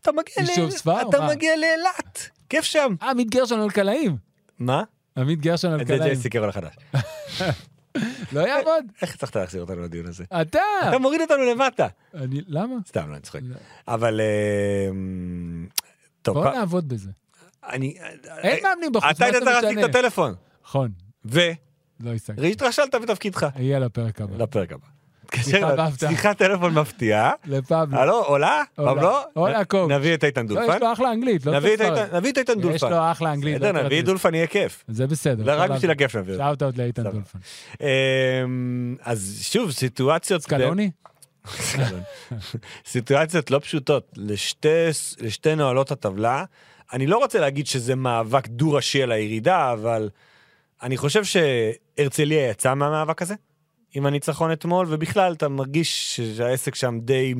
Speaker 3: אתה מגיע
Speaker 2: יישוב
Speaker 3: לאל-
Speaker 2: ספר,
Speaker 3: אתה
Speaker 2: מה?
Speaker 3: מגיע לאילת, כיף שם.
Speaker 2: אה, עמית גרשון על קלעים.
Speaker 3: מה?
Speaker 2: עמית גרשון על
Speaker 3: את זה
Speaker 2: קלעים.
Speaker 3: ג'ייסי קרול החדש.
Speaker 2: לא יעבוד.
Speaker 3: איך הצלחת להחזיר אותנו לדיון הזה?
Speaker 2: אתה!
Speaker 3: אתה מוריד אותנו למטה.
Speaker 2: אני, למה?
Speaker 3: סתם, לא, אני צוחק.
Speaker 2: לא.
Speaker 3: אבל... אמ, טוב,
Speaker 2: בוא
Speaker 3: פ-
Speaker 2: נעבוד בזה.
Speaker 3: אני... אה,
Speaker 2: אין מאמנים בחוץ,
Speaker 3: אתה
Speaker 2: מה
Speaker 3: היית
Speaker 2: זה
Speaker 3: צריך להציג את
Speaker 2: משנה?
Speaker 3: הטלפון.
Speaker 2: נכון,
Speaker 3: ו-
Speaker 2: לא השגתי.
Speaker 3: והתרשלת בתפקידך.
Speaker 2: יהיה לפרק הבא.
Speaker 3: לפרק הבא.
Speaker 2: סליחה, באפתח.
Speaker 3: שיחת טלפון מפתיעה.
Speaker 2: לפבלו.
Speaker 3: הלו, עולה?
Speaker 2: עולה.
Speaker 3: פבלו?
Speaker 2: עולה,
Speaker 3: נ-
Speaker 2: קוץ'.
Speaker 3: נביא את איתן
Speaker 2: לא,
Speaker 3: דולפן.
Speaker 2: יש לו אחלה אנגלית, לא
Speaker 3: נביא את
Speaker 2: צריך
Speaker 3: איתן-
Speaker 2: לפרק.
Speaker 3: נביא את איתן דולפן.
Speaker 2: יש לו אחלה אנגלית. לא
Speaker 3: בסדר,
Speaker 2: צריך
Speaker 3: נביא את
Speaker 2: להגיד.
Speaker 3: דולפן, יהיה כיף.
Speaker 2: זה בסדר.
Speaker 3: לא, רק
Speaker 2: סבבה.
Speaker 3: בשביל הכיף נביא.
Speaker 2: שאוט אאוט לאיתן
Speaker 3: סבבה.
Speaker 2: דולפן.
Speaker 3: אמ, אז שוב, סיטואציות...
Speaker 2: סקלוני?
Speaker 3: סקלון. סיטואציות לא פשוטות לשתי, לשתי נוהלות הטבלה. אני לא רוצה להגיד שזה מאבק דו-ראשי על הירידה, אבל אני חושב שהרצליה יצא מהמאבק הזה, עם הניצחון אתמול, ובכלל אתה מרגיש שהעסק שם די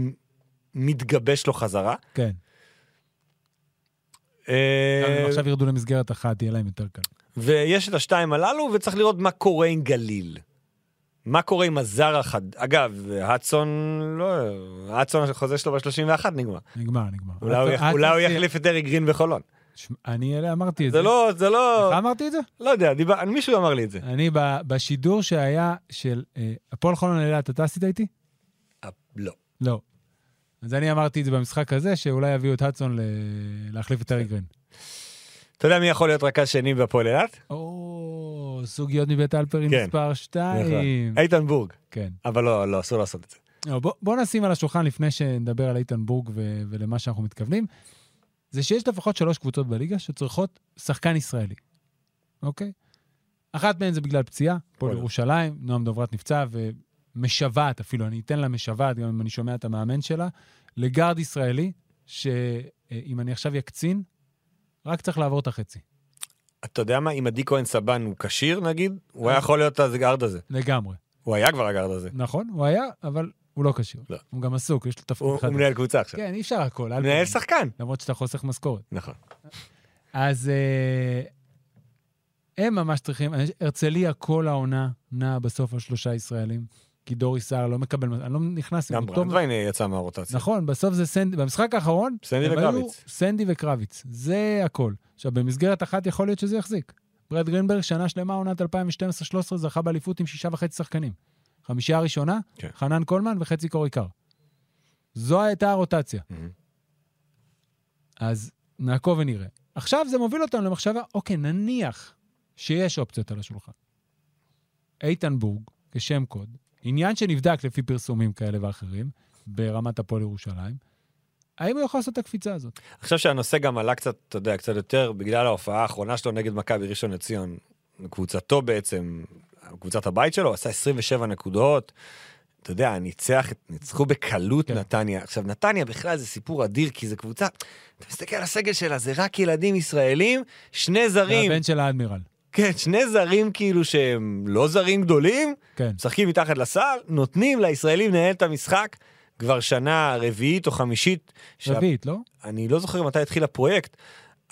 Speaker 3: מתגבש לו חזרה.
Speaker 2: כן.
Speaker 3: אה,
Speaker 2: אבל עכשיו ירדו למסגרת אחת, יהיה להם יותר קל.
Speaker 3: ויש את השתיים הללו, וצריך לראות מה קורה עם גליל. מה קורה עם הזר החד... אגב, האצון, לא... האצון החוזה שלו ב-31 נגמר.
Speaker 2: נגמר, נגמר.
Speaker 3: אולי הוא יח-
Speaker 2: עד-
Speaker 3: אולי
Speaker 2: עד-
Speaker 3: הוא יחליף את אריק גרין בחולון.
Speaker 2: שמע, אני אלה אמרתי את זה.
Speaker 3: זה לא, זה לא,
Speaker 2: לך אמרתי את זה?
Speaker 3: לא יודע, דיבר- מישהו אמר לי את זה.
Speaker 2: אני ב- בשידור שהיה של אה, הפועל חולון אילת, אתה עשית איתי?
Speaker 3: לא.
Speaker 2: לא. אז אני אמרתי את זה במשחק הזה, שאולי יביאו את האדסון ל- להחליף את ארי גרין.
Speaker 3: אתה יודע מי יכול להיות רכז שני בהפועל אילת?
Speaker 2: או, סוגיות מבית אלפרין
Speaker 3: כן.
Speaker 2: מספר 2.
Speaker 3: איתן בורג.
Speaker 2: כן.
Speaker 3: אבל לא, לא, אסור לעשות את זה.
Speaker 2: לא, בוא, בוא נשים על השולחן לפני שנדבר על איתן בורג ו- ולמה שאנחנו מתכוונים, זה שיש לפחות שלוש קבוצות בליגה שצריכות שחקן ישראלי, אוקיי? אחת מהן זה בגלל פציעה, פה
Speaker 3: יכול להיות.
Speaker 2: ירושלים, נועם דוברת נפצע ומשוועת אפילו, אני אתן לה משוועת, גם אם אני שומע את המאמן שלה, לגארד ישראלי, שאם אני עכשיו יקצין, רק צריך לעבור את החצי,
Speaker 3: אתה יודע מה, אם עדי כהן סבן הוא כשיר נגיד, הוא היה יכול להיות הגארד הזה.
Speaker 2: לגמרי.
Speaker 3: הוא היה כבר הגארד הזה.
Speaker 2: נכון, הוא היה, אבל הוא לא כשיר.
Speaker 3: לא.
Speaker 2: הוא גם עסוק, יש לו תפקיד
Speaker 3: הוא הוא
Speaker 2: חדש.
Speaker 3: מנהל קבוצה עכשיו.
Speaker 2: כן, אי אפשר הכל. אל
Speaker 3: מנהל
Speaker 2: תגיד.
Speaker 3: שחקן.
Speaker 2: למרות שאתה חוסך משכורת.
Speaker 3: נכון.
Speaker 2: אז אה, הם ממש צריכים, הרצליה כל העונה נעה בסוף על שלושה ישראלים, כי דורי סער לא מקבל, אני לא נכנס... אם
Speaker 3: גם
Speaker 2: הוא טוב-
Speaker 3: ברנדווין יצא מהרוטציה.
Speaker 2: נכון, בסוף זה סנדי, במשחק האחרון,
Speaker 3: סנדי
Speaker 2: הם היו
Speaker 3: וקרביץ.
Speaker 2: סנדי וקרביץ, זה הכל. עכשיו, במסגרת אחת יכול להיות שזה יחזיק. ברד גרינברג, שנה שלמה, עונת 2012-2013, זכה באליפות עם שישה וחצי שחקנים. חמישייה הראשונה,
Speaker 3: כן.
Speaker 2: חנן קולמן וחצי קורי קר. זו הייתה הרוטציה.
Speaker 3: מהמם.
Speaker 2: אז נעקוב ונראה. עכשיו זה מוביל אותנו למחשבה, אוקיי, נניח שיש אופציות על השולחן. איתן בורג, כשם קוד, עניין שנבדק לפי פרסומים כאלה ואחרים, ברמת הפועל ירושלים, האם הוא יכול לעשות את הקפיצה הזאת?
Speaker 3: אני חושב שהנושא גם עלה קצת, אתה יודע, קצת יותר, בגלל ההופעה האחרונה שלו נגד מכבי ראשון לציון, קבוצתו בעצם, קבוצת הבית שלו, עשה 27 נקודות. אתה יודע, ניצח, ניצחו בקלות
Speaker 2: כן.
Speaker 3: כן. נתניה. עכשיו, נתניה בכלל זה סיפור אדיר, כי זו קבוצה, אתה מסתכל על הסגל שלה, זה רק ילדים ישראלים, שני זרים,
Speaker 2: הבן של האדמירל.
Speaker 3: כן, שני זרים כאילו שהם לא זרים גדולים,
Speaker 2: כן.
Speaker 3: משחקים מתחת לסל, נותנים לישראלים לנהל את המשחק כבר שנה רביעית או חמישית. שה-
Speaker 2: רביעית, לא?
Speaker 3: אני לא זוכר מתי התחיל הפרויקט,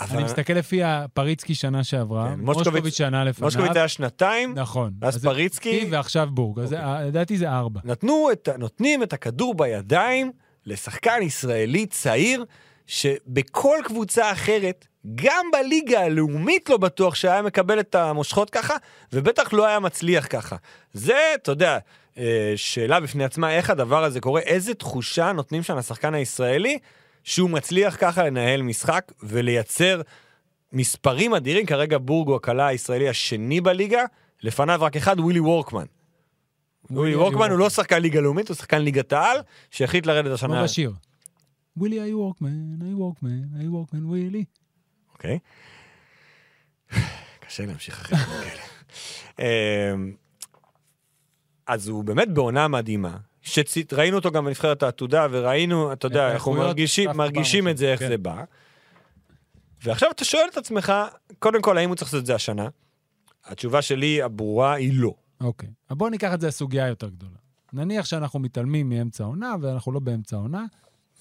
Speaker 3: אבל
Speaker 2: אני מסתכל לפי הפריצקי שנה שעברה,
Speaker 3: כן, מושקוביץ-
Speaker 2: מושקוביץ שנה לפניו.
Speaker 3: מושקוביץ היה שנתיים,
Speaker 2: נכון.
Speaker 3: ואז
Speaker 2: אז זה
Speaker 3: פריצקי. אוקיי.
Speaker 2: פריצקי ועכשיו בורג. אז זה- לדעתי זה ארבע.
Speaker 3: נתנו את, ה- נותנים את הכדור בידיים לשחקן ישראלי צעיר, שבכל קבוצה אחרת, גם בליגה הלאומית לא בטוח שהיה מקבל את המושכות ככה, ובטח לא היה מצליח ככה. זה, אתה יודע, אה, שאלה בפני עצמה, איך הדבר הזה קורה, איזה תחושה נותנים שם לשחקן הישראלי שהוא מצליח ככה לנהל משחק ולייצר מספרים אדירים. כרגע בורג הוא הקלה הישראלי השני בליגה, לפניו רק אחד, ווילי וורקמן. ווילי וורקמן הוא לא שחקן ליגה לאומית, הוא שחקן ליגת העל, שהחליט לרדת
Speaker 2: כמו
Speaker 3: השנה.
Speaker 2: בשיר. ווילי, היי וורקמן, היי וורקמן, היי וורקמן, ווילי.
Speaker 3: אוקיי. קשה להמשיך אחרי דברים כאלה. אמ, אז הוא באמת בעונה מדהימה. שראינו אותו גם בנבחרת העתודה, וראינו, אתה יודע, אנחנו
Speaker 2: האיכויות,
Speaker 3: מרגישים,
Speaker 2: אף פעם
Speaker 3: מרגישים
Speaker 2: לא
Speaker 3: את זה, איך
Speaker 2: כן.
Speaker 3: זה בא. ועכשיו אתה שואל את עצמך, קודם כל, האם הוא צריך לעשות את זה השנה? התשובה שלי הברורה היא לא.
Speaker 2: אוקיי. אז בואו ניקח את זה לסוגיה יותר גדולה. נניח שאנחנו מתעלמים מאמצע העונה, ואנחנו לא באמצע העונה,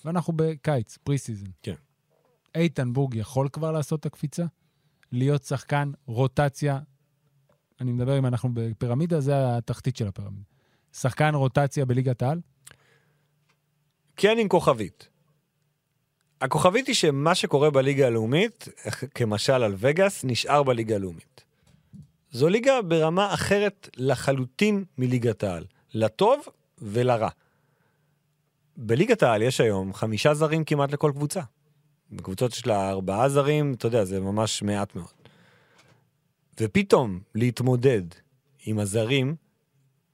Speaker 2: ואנחנו בקיץ, פרי סיזן.
Speaker 3: כן.
Speaker 2: איתן בורג יכול כבר לעשות את הקפיצה? להיות שחקן רוטציה, אני מדבר אם אנחנו בפירמידה, זה התחתית של הפירמידה. שחקן רוטציה בליגת העל?
Speaker 3: כן עם כוכבית. הכוכבית היא שמה שקורה בליגה הלאומית, כמשל על וגאס, נשאר בליגה הלאומית. זו ליגה ברמה אחרת לחלוטין מליגת העל, לטוב ולרע. בליגת העל יש היום חמישה זרים כמעט לכל קבוצה. בקבוצות יש לה ארבעה זרים, אתה יודע, זה ממש מעט מאוד. ופתאום להתמודד עם הזרים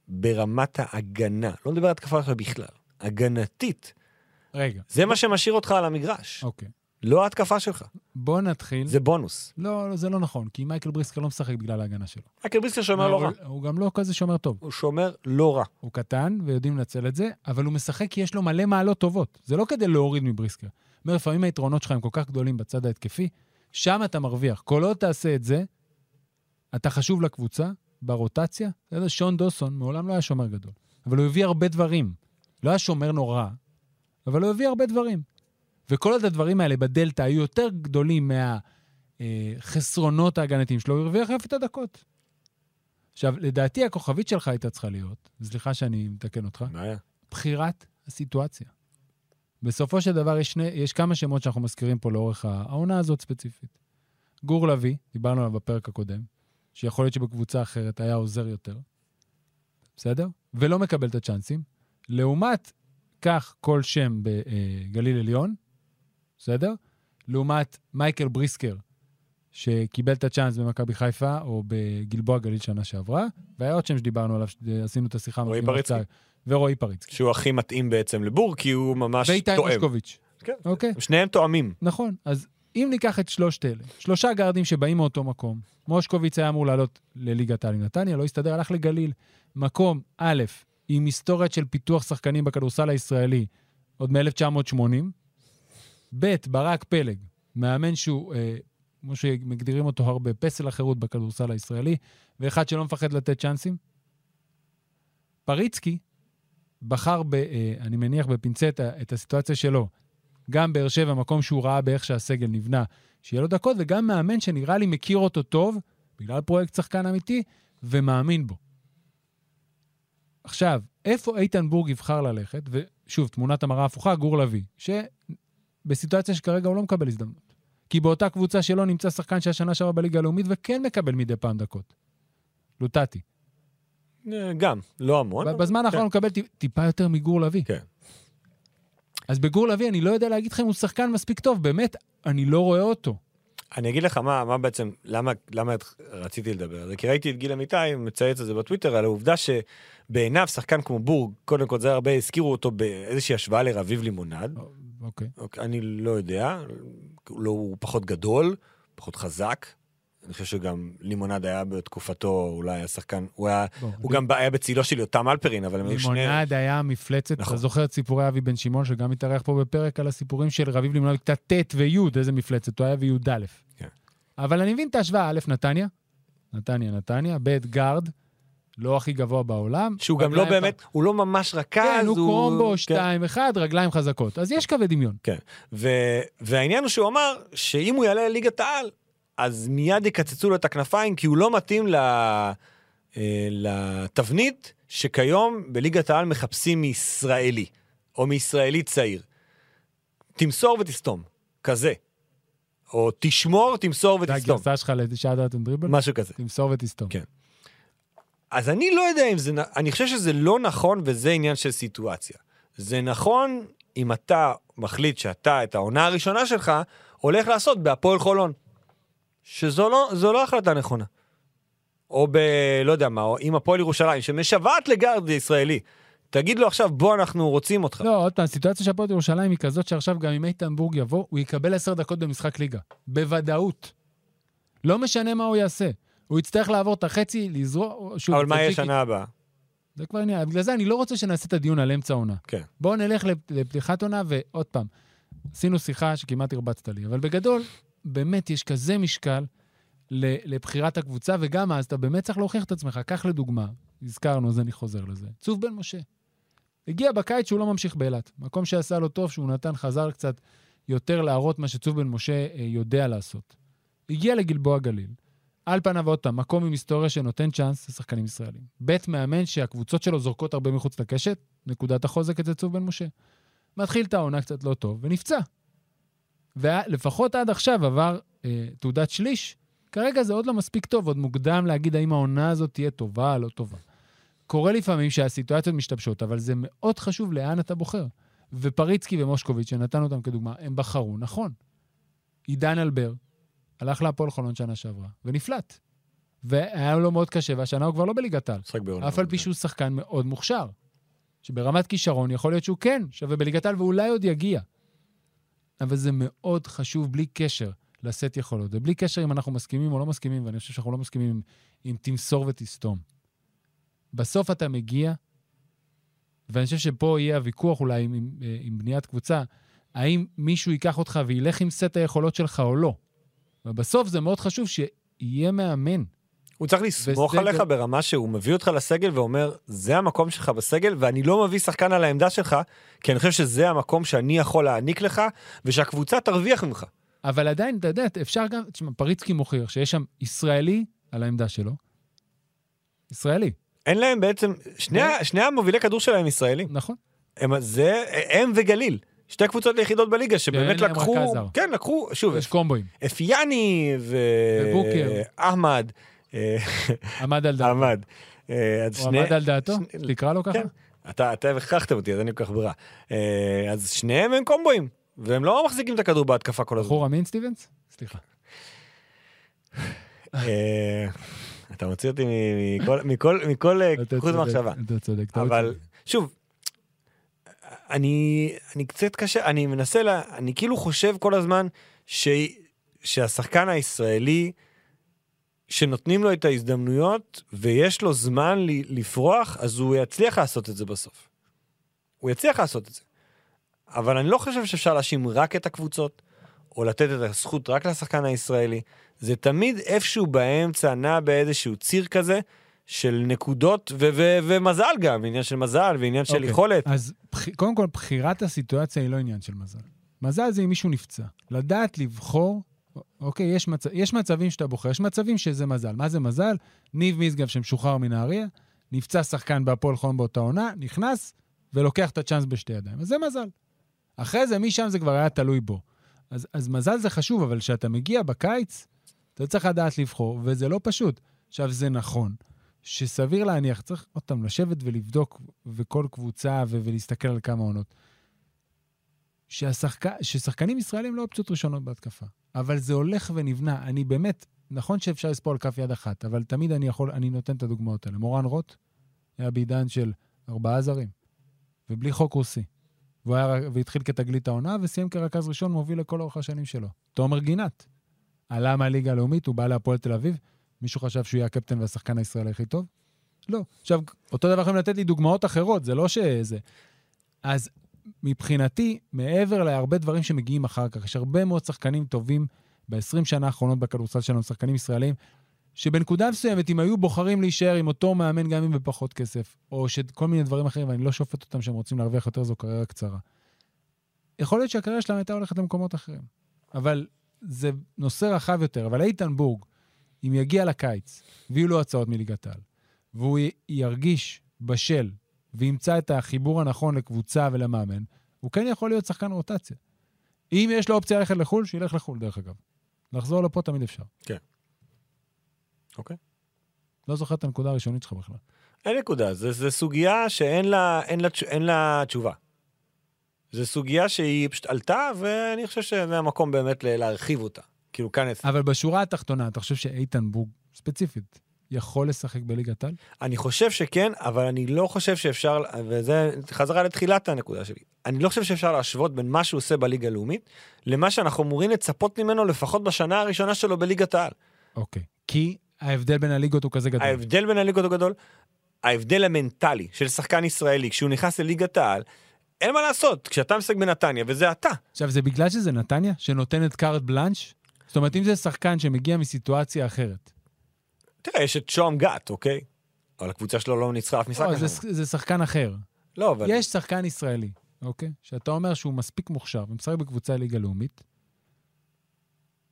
Speaker 3: ברמת ההגנה, לא מדבר על התקפה עכשיו בכלל, הגנתית,
Speaker 2: רגע,
Speaker 3: זה מה שמשאיר אותך על המגרש,
Speaker 2: אוקיי.
Speaker 3: לא ההתקפה שלך,
Speaker 2: בואו נתחיל.
Speaker 3: זה בונוס.
Speaker 2: לא, לא, זה לא נכון, כי מייקל בריסקר לא משחק בגלל ההגנה שלו.
Speaker 3: מייקל בריסקר שומר לא רע,
Speaker 2: הוא- הוא גם לא כזה שומר טוב.
Speaker 3: הוא שומר לא רע.
Speaker 2: הוא קטן ויודעים לנצל את זה, אבל הוא משחק כי יש לו מלא מעלות טובות. זה לא כדי להוריד מבריסקר. אומר, לפעמים היתרונות שלך הם כל כך גדולים בצד ההתקפי, שם אתה מרוויח. כל עוד תעשה את זה, אתה חשוב לקבוצה, ברוטציה. אתה יודע, שון דוסון מעולם לא היה שומר גדול, אבל הוא הביא הרבה דברים. לא היה שומר נורא, אבל הוא הביא הרבה דברים. וכל עוד הדברים האלה בדלתא היו יותר גדולים מהחסרונות ההגנתיים שלו, הוא הרוויח יפה את הדקות. עכשיו, לדעתי הכוכבית שלך הייתה צריכה להיות, סליחה שאני מתקן אותך,
Speaker 3: בעיה.
Speaker 2: בחירת הסיטואציה. בסופו של דבר יש, שני, יש כמה שמות שאנחנו מזכירים פה לאורך העונה הזאת ספציפית. גור לביא, דיברנו עליו בפרק הקודם, שיכול להיות שבקבוצה אחרת היה עוזר יותר, בסדר? ולא מקבל את הצ'אנסים. לעומת, כך כל שם בגליל עליון, בסדר? לעומת מייקל בריסקר, שקיבל את הצ'אנס במכבי חיפה, או בגלבוע גליל שנה שעברה, והיה עוד שם שדיברנו עליו, שעשינו את השיחה.
Speaker 3: רועי
Speaker 2: עם
Speaker 3: פריצקי.
Speaker 2: הפצ"ר, ורועי פריצקי.
Speaker 3: שהוא הכי מתאים בעצם לבור, כי הוא ממש
Speaker 2: ואיתי
Speaker 3: תואם.
Speaker 2: מושקוביץ'.
Speaker 3: כן.
Speaker 2: אוקיי?
Speaker 3: שניהם תואמים.
Speaker 2: נכון. אז אם ניקח את שלושת אלה, שלושה גארדים שבאים מאותו מקום, מושקוביץ היה אמור לעלות לליגת העל עם נתניה, לא הסתדר, הלך לגליל. מקום א', עם היסטוריה של פיתוח שחקנים בכדורסל הישראלי עוד מ-1980, ב', ברק פלג, מאמן שהוא, אה, כמו שמגדירים אותו הרבה, פסל החירות בכדורסל הישראלי, ואחד שלא מפחד לתת צ'אנסים. פריצקי בחר, ב, אה, אני מניח, בפינצטה את הסיטואציה שלו. גם באר שבע, מקום שהוא ראה באיך שהסגל נבנה, שיהיה לו דקות, וגם מאמן שנראה לי מכיר אותו טוב, בגלל פרויקט שחקן אמיתי, ומאמין בו. עכשיו, איפה איתן בורג יבחר ללכת? ושוב, תמונת המראה הפוכה, גור לביא, שבסיטואציה שכרגע הוא לא מקבל הזדמנות. כי באותה קבוצה שלו נמצא שחקן שהשנה שעברה בליגה הלאומית וכן מקבל מדי פעם דקות. לוטטי.
Speaker 3: אה, גם, לא המון. אבל-
Speaker 2: בזמן האחרון הוא מקבל טיפ- טיפה יותר מגור לביא.
Speaker 3: כן.
Speaker 2: אז בגור לביא אני לא יודע להגיד לך אם הוא שחקן מספיק טוב, באמת, אני לא רואה אותו.
Speaker 3: אני אגיד לך מה, מה בעצם, למה, למה את- רציתי לדבר על זה, כי ראיתי את גיל אמיתי מצייץ את זה בטוויטר, על העובדה שבעיניו שחקן כמו בורג, קודם כל זה הרבה הזכירו אותו באיזושהי השוואה לרביב לימונד,
Speaker 2: אוקיי.
Speaker 3: אוקיי, אני לא יודע, לא, הוא פחות גדול, פחות חזק. אני חושב שגם לימונד היה בתקופתו אולי השחקן, הוא היה,
Speaker 2: בוא,
Speaker 3: הוא גם היה בצילו של יותם אלפרין, אבל הם היו שני...
Speaker 2: לימונד היה מפלצת,
Speaker 3: נכון.
Speaker 2: אתה זוכר את סיפורי אבי בן שמעון, שגם התארח פה בפרק על הסיפורים של רביב לימונד בכיתה ט' וי', איזה מפלצת, הוא היה בי"א.
Speaker 3: כן.
Speaker 2: אבל אני מבין את ההשוואה, א', נתניה, נתניה, נתניה, ב', גארד, לא הכי גבוה בעולם.
Speaker 3: שהוא גם לא
Speaker 2: רגליים
Speaker 3: באמת, הוא לא ממש רכז,
Speaker 2: פ- כן, הוא קרומבו,
Speaker 3: כן.
Speaker 2: 2-1, רגליים חזקות. אז יש קווי דמיון.
Speaker 3: ו- והעניין הוא שהוא אמר שאם הוא יעלה לליגת העל, אז מיד יקצצו לו את הכנפיים, כי הוא לא מתאים ל... אה, לתבנית שכיום בליגת העל מחפשים מישראלי, או מישראלי צעיר. תמסור ותסתום, כזה. או תשמור, תמסור
Speaker 2: זה
Speaker 3: ותסתום,
Speaker 2: הגרסה שלך לשעת דעתם דריבל?
Speaker 3: משהו כזה.
Speaker 2: תמסור ותסתום.
Speaker 3: כן. אז אני לא יודע אם זה, נ- אני חושב שזה לא נכון וזה עניין של סיטואציה. זה נכון אם אתה מחליט שאתה את העונה הראשונה שלך הולך לעשות בהפועל חולון. שזו לא, זו לא החלטה נכונה. או ב... לא יודע מה, או עם הפועל ירושלים, שמשוועת לגארד ישראלי. תגיד לו עכשיו, בוא, אנחנו רוצים אותך.
Speaker 2: לא, עוד פעם, הסיטואציה של הפועל ירושלים היא כזאת שעכשיו גם אם איתן בורג יבוא, הוא יקבל עשר דקות במשחק ליגה. בוודאות. לא משנה מה הוא יעשה. הוא יצטרך לעבור את החצי, לזרוע... שוב,
Speaker 3: אבל מה יהיה
Speaker 2: צ'יקי.
Speaker 3: שנה הבאה?
Speaker 2: זה כבר עניין. בגלל זה אני לא רוצה שנעשה את הדיון על אמצע עונה.
Speaker 3: כן.
Speaker 2: בואו נלך לפ- לפתיחת עונה, ועוד פעם, עשינו שיחה שכמעט הרבצת לי, אבל בגדול, באמת יש כזה משקל ל- לבחירת הקבוצה, וגם אז אתה באמת צריך להוכיח את עצמך. קח לדוגמה, הזכרנו, אז אני חוזר לזה. צוף בן משה. הגיע בקיץ שהוא לא ממשיך באילת. מקום שעשה לו טוב, שהוא נתן, חזר קצת יותר להראות מה שצוף בן משה אה, יודע לעשות. הגיע לגלבוע גליל. על פניו עוד פעם, מקום עם היסטוריה שנותן צ'אנס לשחקנים ישראלים. בית מאמן שהקבוצות שלו זורקות הרבה מחוץ לקשת, נקודת החוזק אצל צוף בן משה. מתחיל את העונה קצת לא טוב, ונפצע. ולפחות עד עכשיו עבר אה, תעודת שליש. כרגע זה עוד לא מספיק טוב, עוד מוקדם להגיד האם העונה הזאת תהיה טובה, לא טובה. קורה לפעמים שהסיטואציות משתבשות, אבל זה מאוד חשוב לאן אתה בוחר. ופריצקי ומושקוביץ', שנתנו אותם כדוגמה, הם בחרו נכון. עידן אלבר הלך להפועל חולון שנה שעברה, ונפלט. והיה לו מאוד קשה, והשנה הוא כבר לא בליגת העל.
Speaker 3: משחק בעונה.
Speaker 2: אף על פי שהוא שחקן מאוד מוכשר, שברמת כישרון יכול להיות שהוא כן שווה בליגת העל ואולי עוד יגיע. אבל זה מאוד חשוב, בלי קשר, לשאת יכולות. ובלי קשר אם אנחנו מסכימים או לא מסכימים, ואני חושב שאנחנו לא מסכימים עם, עם תמסור ותסתום. בסוף אתה מגיע, ואני חושב שפה יהיה הוויכוח אולי עם, עם, אה, עם בניית קבוצה, האם מישהו ייקח אותך וילך עם סט היכולות שלך או לא. ובסוף זה מאוד חשוב שיהיה מאמן.
Speaker 3: הוא צריך לסמוך
Speaker 2: וזה
Speaker 3: עליך
Speaker 2: גם-
Speaker 3: ברמה שהוא מביא אותך לסגל ואומר, זה המקום שלך בסגל, ואני לא מביא שחקן על העמדה שלך, כי אני חושב שזה המקום שאני יכול להעניק לך, ושהקבוצה תרוויח ממך.
Speaker 2: אבל עדיין, אתה יודע, אפשר גם... תשמע, פריצקי מוכיח שיש שם ישראלי על העמדה שלו. ישראלי,
Speaker 3: אין להם בעצם, שני, ה- שני המובילי כדור שלהם ישראלים.
Speaker 2: נכון.
Speaker 3: הם, זה, הם וגליל. שתי הקבוצות היחידות בליגה שבאמת
Speaker 2: להם
Speaker 3: לקחו,
Speaker 2: רכז זר.
Speaker 3: כן, לקחו, שוב,
Speaker 2: יש קומבואים.
Speaker 3: אפיאני ו...
Speaker 2: ובוקר.
Speaker 3: אחמד. אה,
Speaker 2: עמד על דעתו.
Speaker 3: עמד. אה, אז
Speaker 2: הוא
Speaker 3: שני-
Speaker 2: עמד על דעתו?
Speaker 3: שני-
Speaker 2: תקרא לו ככה?
Speaker 3: כן. אתה, אתם הכרחתם אותי, אז אין לי כל כך ברירה. אה, אז שניהם הם קומבואים, והם לא מחזיקים את הכדור בהתקפה כל הזמן.
Speaker 2: בחור אמין סטיבנס? סליחה. נכון.
Speaker 3: אה, אתה מוציא אותי מ- מכל, מכל, מכל אה,
Speaker 2: אתה
Speaker 3: חוט
Speaker 2: צודק,
Speaker 3: מחשבה.
Speaker 2: אתה צודק. אתה לא
Speaker 3: אבל
Speaker 2: צודק.
Speaker 3: שוב, אני, אני קצת קשה, אני מנסה, לה, אני כאילו חושב כל הזמן ש, שהשחקן הישראלי, שנותנים לו את ההזדמנויות ויש לו זמן ל, לפרוח, אז הוא יצליח לעשות את זה בסוף. הוא יצליח לעשות את זה. אבל אני לא חושב שאפשר להאשים רק את הקבוצות, או לתת את הזכות רק לשחקן הישראלי. זה תמיד איפשהו באמצע, נע באיזשהו ציר כזה, של נקודות ו- ו- ומזל גם, עניין של מזל ועניין של
Speaker 2: אוקיי.
Speaker 3: יכולת.
Speaker 2: אז בח- קודם כל, בחירת הסיטואציה היא לא עניין של מזל. מזל זה אם מישהו נפצע. לדעת לבחור, א- אוקיי, יש, מצ... יש מצבים שאתה בוחר, יש מצבים שזה מזל. מה זה מזל? ניב משגב שמשוחרר מנהריה, נפצע שחקן בהפועל חום באותה עונה, נכנס ולוקח את הצ'אנס בשתי ידיים. אז זה מזל. אחרי זה, משם זה כבר היה תלוי בו. אז, אז מזל זה חשוב, אבל כשאתה מגיע בקיץ, אתה צריך לדעת לבחור, וזה לא פשוט. עכשיו, זה נכון, שסביר להניח, צריך עוד פעם לשבת ולבדוק, וכל קבוצה, ו- ולהסתכל על כמה עונות. שהשחק... ששחקנים ישראלים לא אופציות ראשונות בהתקפה, אבל זה הולך ונבנה. אני באמת, נכון שאפשר לספור על כף יד אחת, אבל תמיד אני יכול, אני נותן את הדוגמאות האלה. מורן רוט היה בעידן של ארבעה זרים, ובלי חוק רוסי, והוא היה, והתחיל כתגלית העונה, וסיים כרכז ראשון, מוביל לכל אורך השנים שלו. תומר גינת. עלה מהליגה הלאומית, הוא בא להפועל תל אביב. מישהו חשב שהוא יהיה הקפטן והשחקן הישראלי הכי טוב? לא. עכשיו, אותו דבר יכולים לתת לי דוגמאות אחרות, זה לא שזה. אז מבחינתי, מעבר להרבה דברים שמגיעים אחר כך, יש הרבה מאוד שחקנים טובים ב-20 שנה האחרונות בכדורסל שלנו, שחקנים ישראלים, שבנקודה מסוימת, אם היו בוחרים להישאר עם אותו מאמן גם אם בפחות כסף, או שכל מיני דברים אחרים, ואני לא שופט אותם שהם רוצים להרוויח יותר, זו קריירה קצרה. יכול להיות שהקריירה שלהם הייתה הולכת למקומות אחרים, אבל זה נושא רחב יותר. אבל איתן בורג, אם יגיע לקיץ ויהיו לו הצעות מליגת העל, והוא י- ירגיש בשל וימצא את החיבור הנכון לקבוצה ולמאמן, הוא כן יכול להיות שחקן רוטציה. אם יש לו אופציה ללכת לחו"ל, שילך לחו"ל, דרך אגב. לחזור לפה תמיד אפשר.
Speaker 3: כן. אוקיי.
Speaker 2: לא זוכר את הנקודה הראשונית שלך בכלל.
Speaker 3: אין נקודה, זה, זה סוגיה שאין לה, אין לה, תש- אין לה תשובה. זו סוגיה שהיא פשוט עלתה, ואני חושב שזה המקום באמת ל- להרחיב אותה. כאילו כאן, אצ-
Speaker 2: אבל בשורה התחתונה, אתה חושב שאיתן בוג, ספציפית, יכול לשחק בליגת העל?
Speaker 3: אני חושב שכן, אבל אני לא חושב שאפשר, וזה חזרה לתחילת הנקודה שלי, אני לא חושב שאפשר להשוות בין מה שהוא עושה בליגה הלאומית למה שאנחנו אמורים לצפות ממנו לפחות בשנה הראשונה שלו בליגת העל.
Speaker 2: אוקיי. כי ההבדל בין הליגות הוא כזה גדול.
Speaker 3: ההבדל בין הליגות הוא גדול, ההבדל המנטלי של שחקן ישראלי כשהוא נכנס לליגת העל, אין מה לעשות, כשאתה משחק בנתניה, וזה אתה.
Speaker 2: עכשיו, זה בגלל שזה נתניה, שנותנת קארט בלאנש? זאת אומרת, אם זה שחקן שמגיע מסיטואציה אחרת,
Speaker 3: תראה, יש את שוהם גת, אוקיי? אבל הקבוצה שלו לא ניצחה אף משחק.
Speaker 2: לא,
Speaker 3: השנה.
Speaker 2: זה, ש- זה שחקן אחר.
Speaker 3: לא, אבל...
Speaker 2: יש שחקן ישראלי, אוקיי? שאתה אומר שהוא מספיק מוכשר ומשחק בקבוצה ליגה לאומית,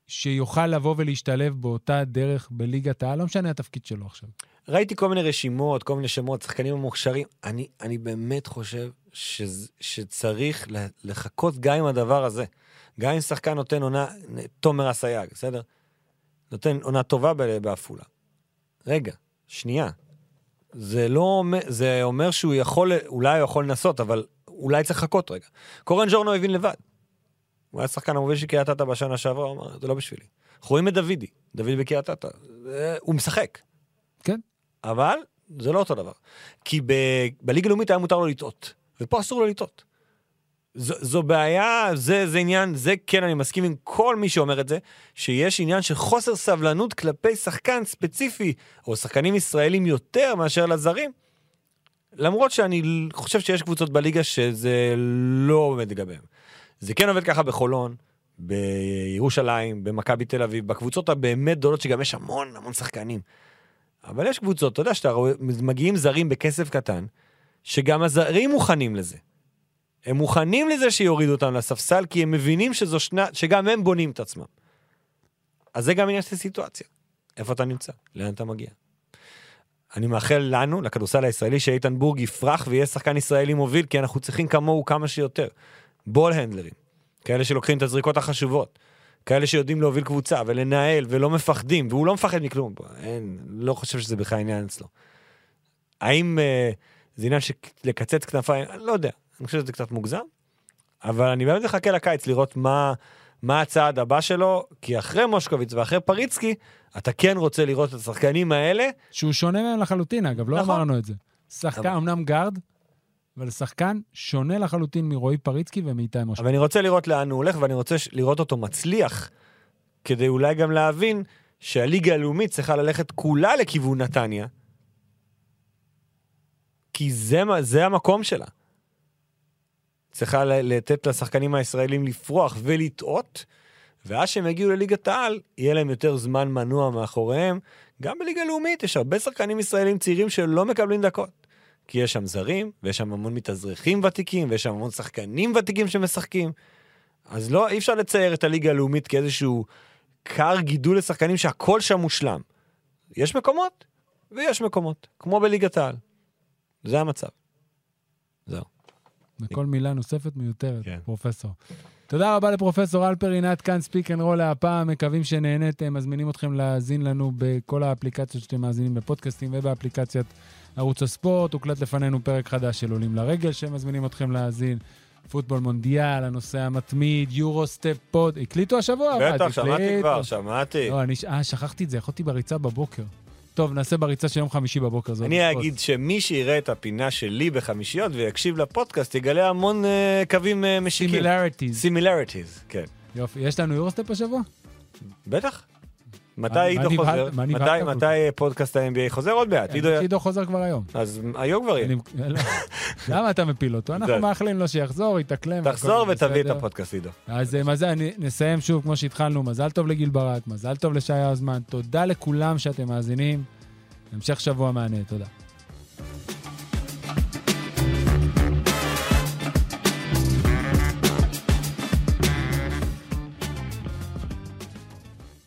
Speaker 2: שיוכל לבוא ולהשתלב באותה דרך בליגת העל, לא משנה התפקיד שלו עכשיו.
Speaker 3: ראיתי כל מיני רשימות, כל מיני שמות, שחקנים המוכשרים. אני, אני באמת חושב שז- שצריך ל- לחכות גם עם הדבר הזה. גם אם שחקן נותן עונה, תומר אסייג, בסדר? נותן עונה טובה ב- בעפולה. רגע, שנייה. זה לא אומר, זה אומר שהוא יכול, אולי הוא יכול לנסות, אבל אולי צריך לחכות רגע. קורן ג'ורנו הבין לבד. הוא היה שחקן המוביל של קריית אתא בשנה שעברה, הוא אמר, זה לא בשבילי. אנחנו רואים את דוידי, דוד בקריית אתא. זה- הוא משחק.
Speaker 2: כן.
Speaker 3: אבל זה לא אותו דבר. כי ב... בליגה הלאומית היה מותר לו לטעות, ופה אסור לו לטעות. זו, זו בעיה, זה, זה עניין, זה כן, אני מסכים עם כל מי שאומר את זה, שיש עניין של חוסר סבלנות כלפי שחקן ספציפי, או שחקנים ישראלים יותר מאשר לזרים, למרות שאני ל- חושב שיש קבוצות בליגה שזה לא עומד לגביהם. זה כן עובד ככה בחולון, בירושלים, במכבי תל אביב, בקבוצות הבאמת גדולות, שגם יש המון המון שחקנים. אבל יש קבוצות, אתה יודע, שאתה רואה, מגיעים זרים בכסף קטן, שגם הזרים מוכנים לזה. הם מוכנים לזה שיורידו אותם לספסל, כי הם מבינים שזו שנה, שגם הם בונים את עצמם. אז זה גם עניין של סיטואציה. איפה אתה נמצא? לאן אתה מגיע? אני מאחל לנו, לכדורסל הישראלי, שאיתן בורג יפרח ויהיה שחקן ישראלי מוביל, כי אנחנו צריכים כמוהו כמה שיותר. בול הנדלרים, כאלה שלוקחים את הזריקות החשובות, כאלה שיודעים להוביל קבוצה ולנהל ולא מפחדים, והוא לא מפחד מכלום, אין, לא חושב שזה בכלל עניין אצלו. האם אה, זה עניין של לקצץ כנפיים? אני לא יודע, אני חושב שזה קצת מוגזם, אבל אני באמת מחכה לקיץ לראות מה, מה הצעד הבא שלו, כי אחרי מושקוביץ ואחרי פריצקי, אתה כן רוצה לראות את השחקנים האלה
Speaker 2: שהוא שונה מהם לחלוטין, אגב, לא
Speaker 3: נכון.
Speaker 2: אמרנו את זה. שחקן,
Speaker 3: אבל-
Speaker 2: אמנם גארד, אבל שחקן שונה לחלוטין מרועי פריצקי ומאיתי משה.
Speaker 3: אבל אני רוצה לראות לאן הוא הולך, ואני רוצה ש- לראות אותו מצליח, כדי אולי גם להבין שהליגה הלאומית צריכה ללכת כולה לכיוון נתניה, כי זה, מה- זה המקום שלה. צריכה ל- לתת לשחקנים הישראלים לפרוח ולטעות, ואז שהם יגיעו לליגת העל, יהיה להם יותר זמן מנוע מאחוריהם. גם בליגה הלאומית יש הרבה שחקנים ישראלים צעירים שלא מקבלים דקות. כי יש שם זרים, ויש שם המון מתאזרחים ותיקים, ויש שם המון שחקנים ותיקים שמשחקים. אז לא, אי אפשר לצייר את הליגה הלאומית כאיזשהו כר גידול לשחקנים שהכל שם מושלם. יש מקומות, ויש מקומות, כמו בליגת העל. זה המצב. זהו.
Speaker 2: וכל מילה נוספת מיותרת,
Speaker 3: כן.
Speaker 2: פרופסור. תודה רבה לפרופסור אלפר עינת, כאן ספיק אנד רול הפעם, מקווים שנהניתם, מזמינים אתכם להאזין לנו בכל האפליקציות שאתם מאזינים בפודקאסטים ובאפליקציית ערוץ הספורט. הוקלט לפנינו פרק חדש של עולים לרגל, שמזמינים אתכם להאזין. פוטבול מונדיאל, הנושא המתמיד, יורו סטפ פוד, הקליטו השבוע, אבל
Speaker 3: בטח, שמעתי
Speaker 2: הקליטו.
Speaker 3: כבר, שמעתי.
Speaker 2: לא, אני, ש- אה, שכחתי את זה, יכולתי בריצה בבוקר. טוב, נעשה בריצה של יום חמישי בבוקר. זה עוד
Speaker 3: אני
Speaker 2: פוסט.
Speaker 3: אגיד שמי שיראה את הפינה שלי בחמישיות ויקשיב לפודקאסט, יגלה המון אה, קווים אה, משיקים.
Speaker 2: Similarities.
Speaker 3: סימילריטיז, כן.
Speaker 2: יופי, יש לנו יורסטפ השבוע? בטח.
Speaker 3: מתי
Speaker 2: מה
Speaker 3: עידו
Speaker 2: נבהלת-
Speaker 3: חוזר?
Speaker 2: מה נבהלת
Speaker 3: מתי-
Speaker 2: כל
Speaker 3: מתי אה, פודקאסט ה-NBA חוזר? עוד מעט. עידו-
Speaker 2: עידו חוזר כבר היום.
Speaker 3: אז היום כבר יהיה.
Speaker 2: אני- לא. למה אתה מפיל אותו? אנחנו
Speaker 3: כן. זה-
Speaker 2: מאחלים לו שיחזור, יתאקלם.
Speaker 3: תחזור
Speaker 2: הכל
Speaker 3: ותביא את
Speaker 2: בסדר.
Speaker 3: הפודקאסט, עידו.
Speaker 2: אז אה, מזל, נ- נסיים שוב כמו שהתחלנו, מזל טוב לגיל ברק, מזל טוב לשי האוזמן, תודה לכולם שאתם מאזינים. המשך שבוע מעניין, תודה.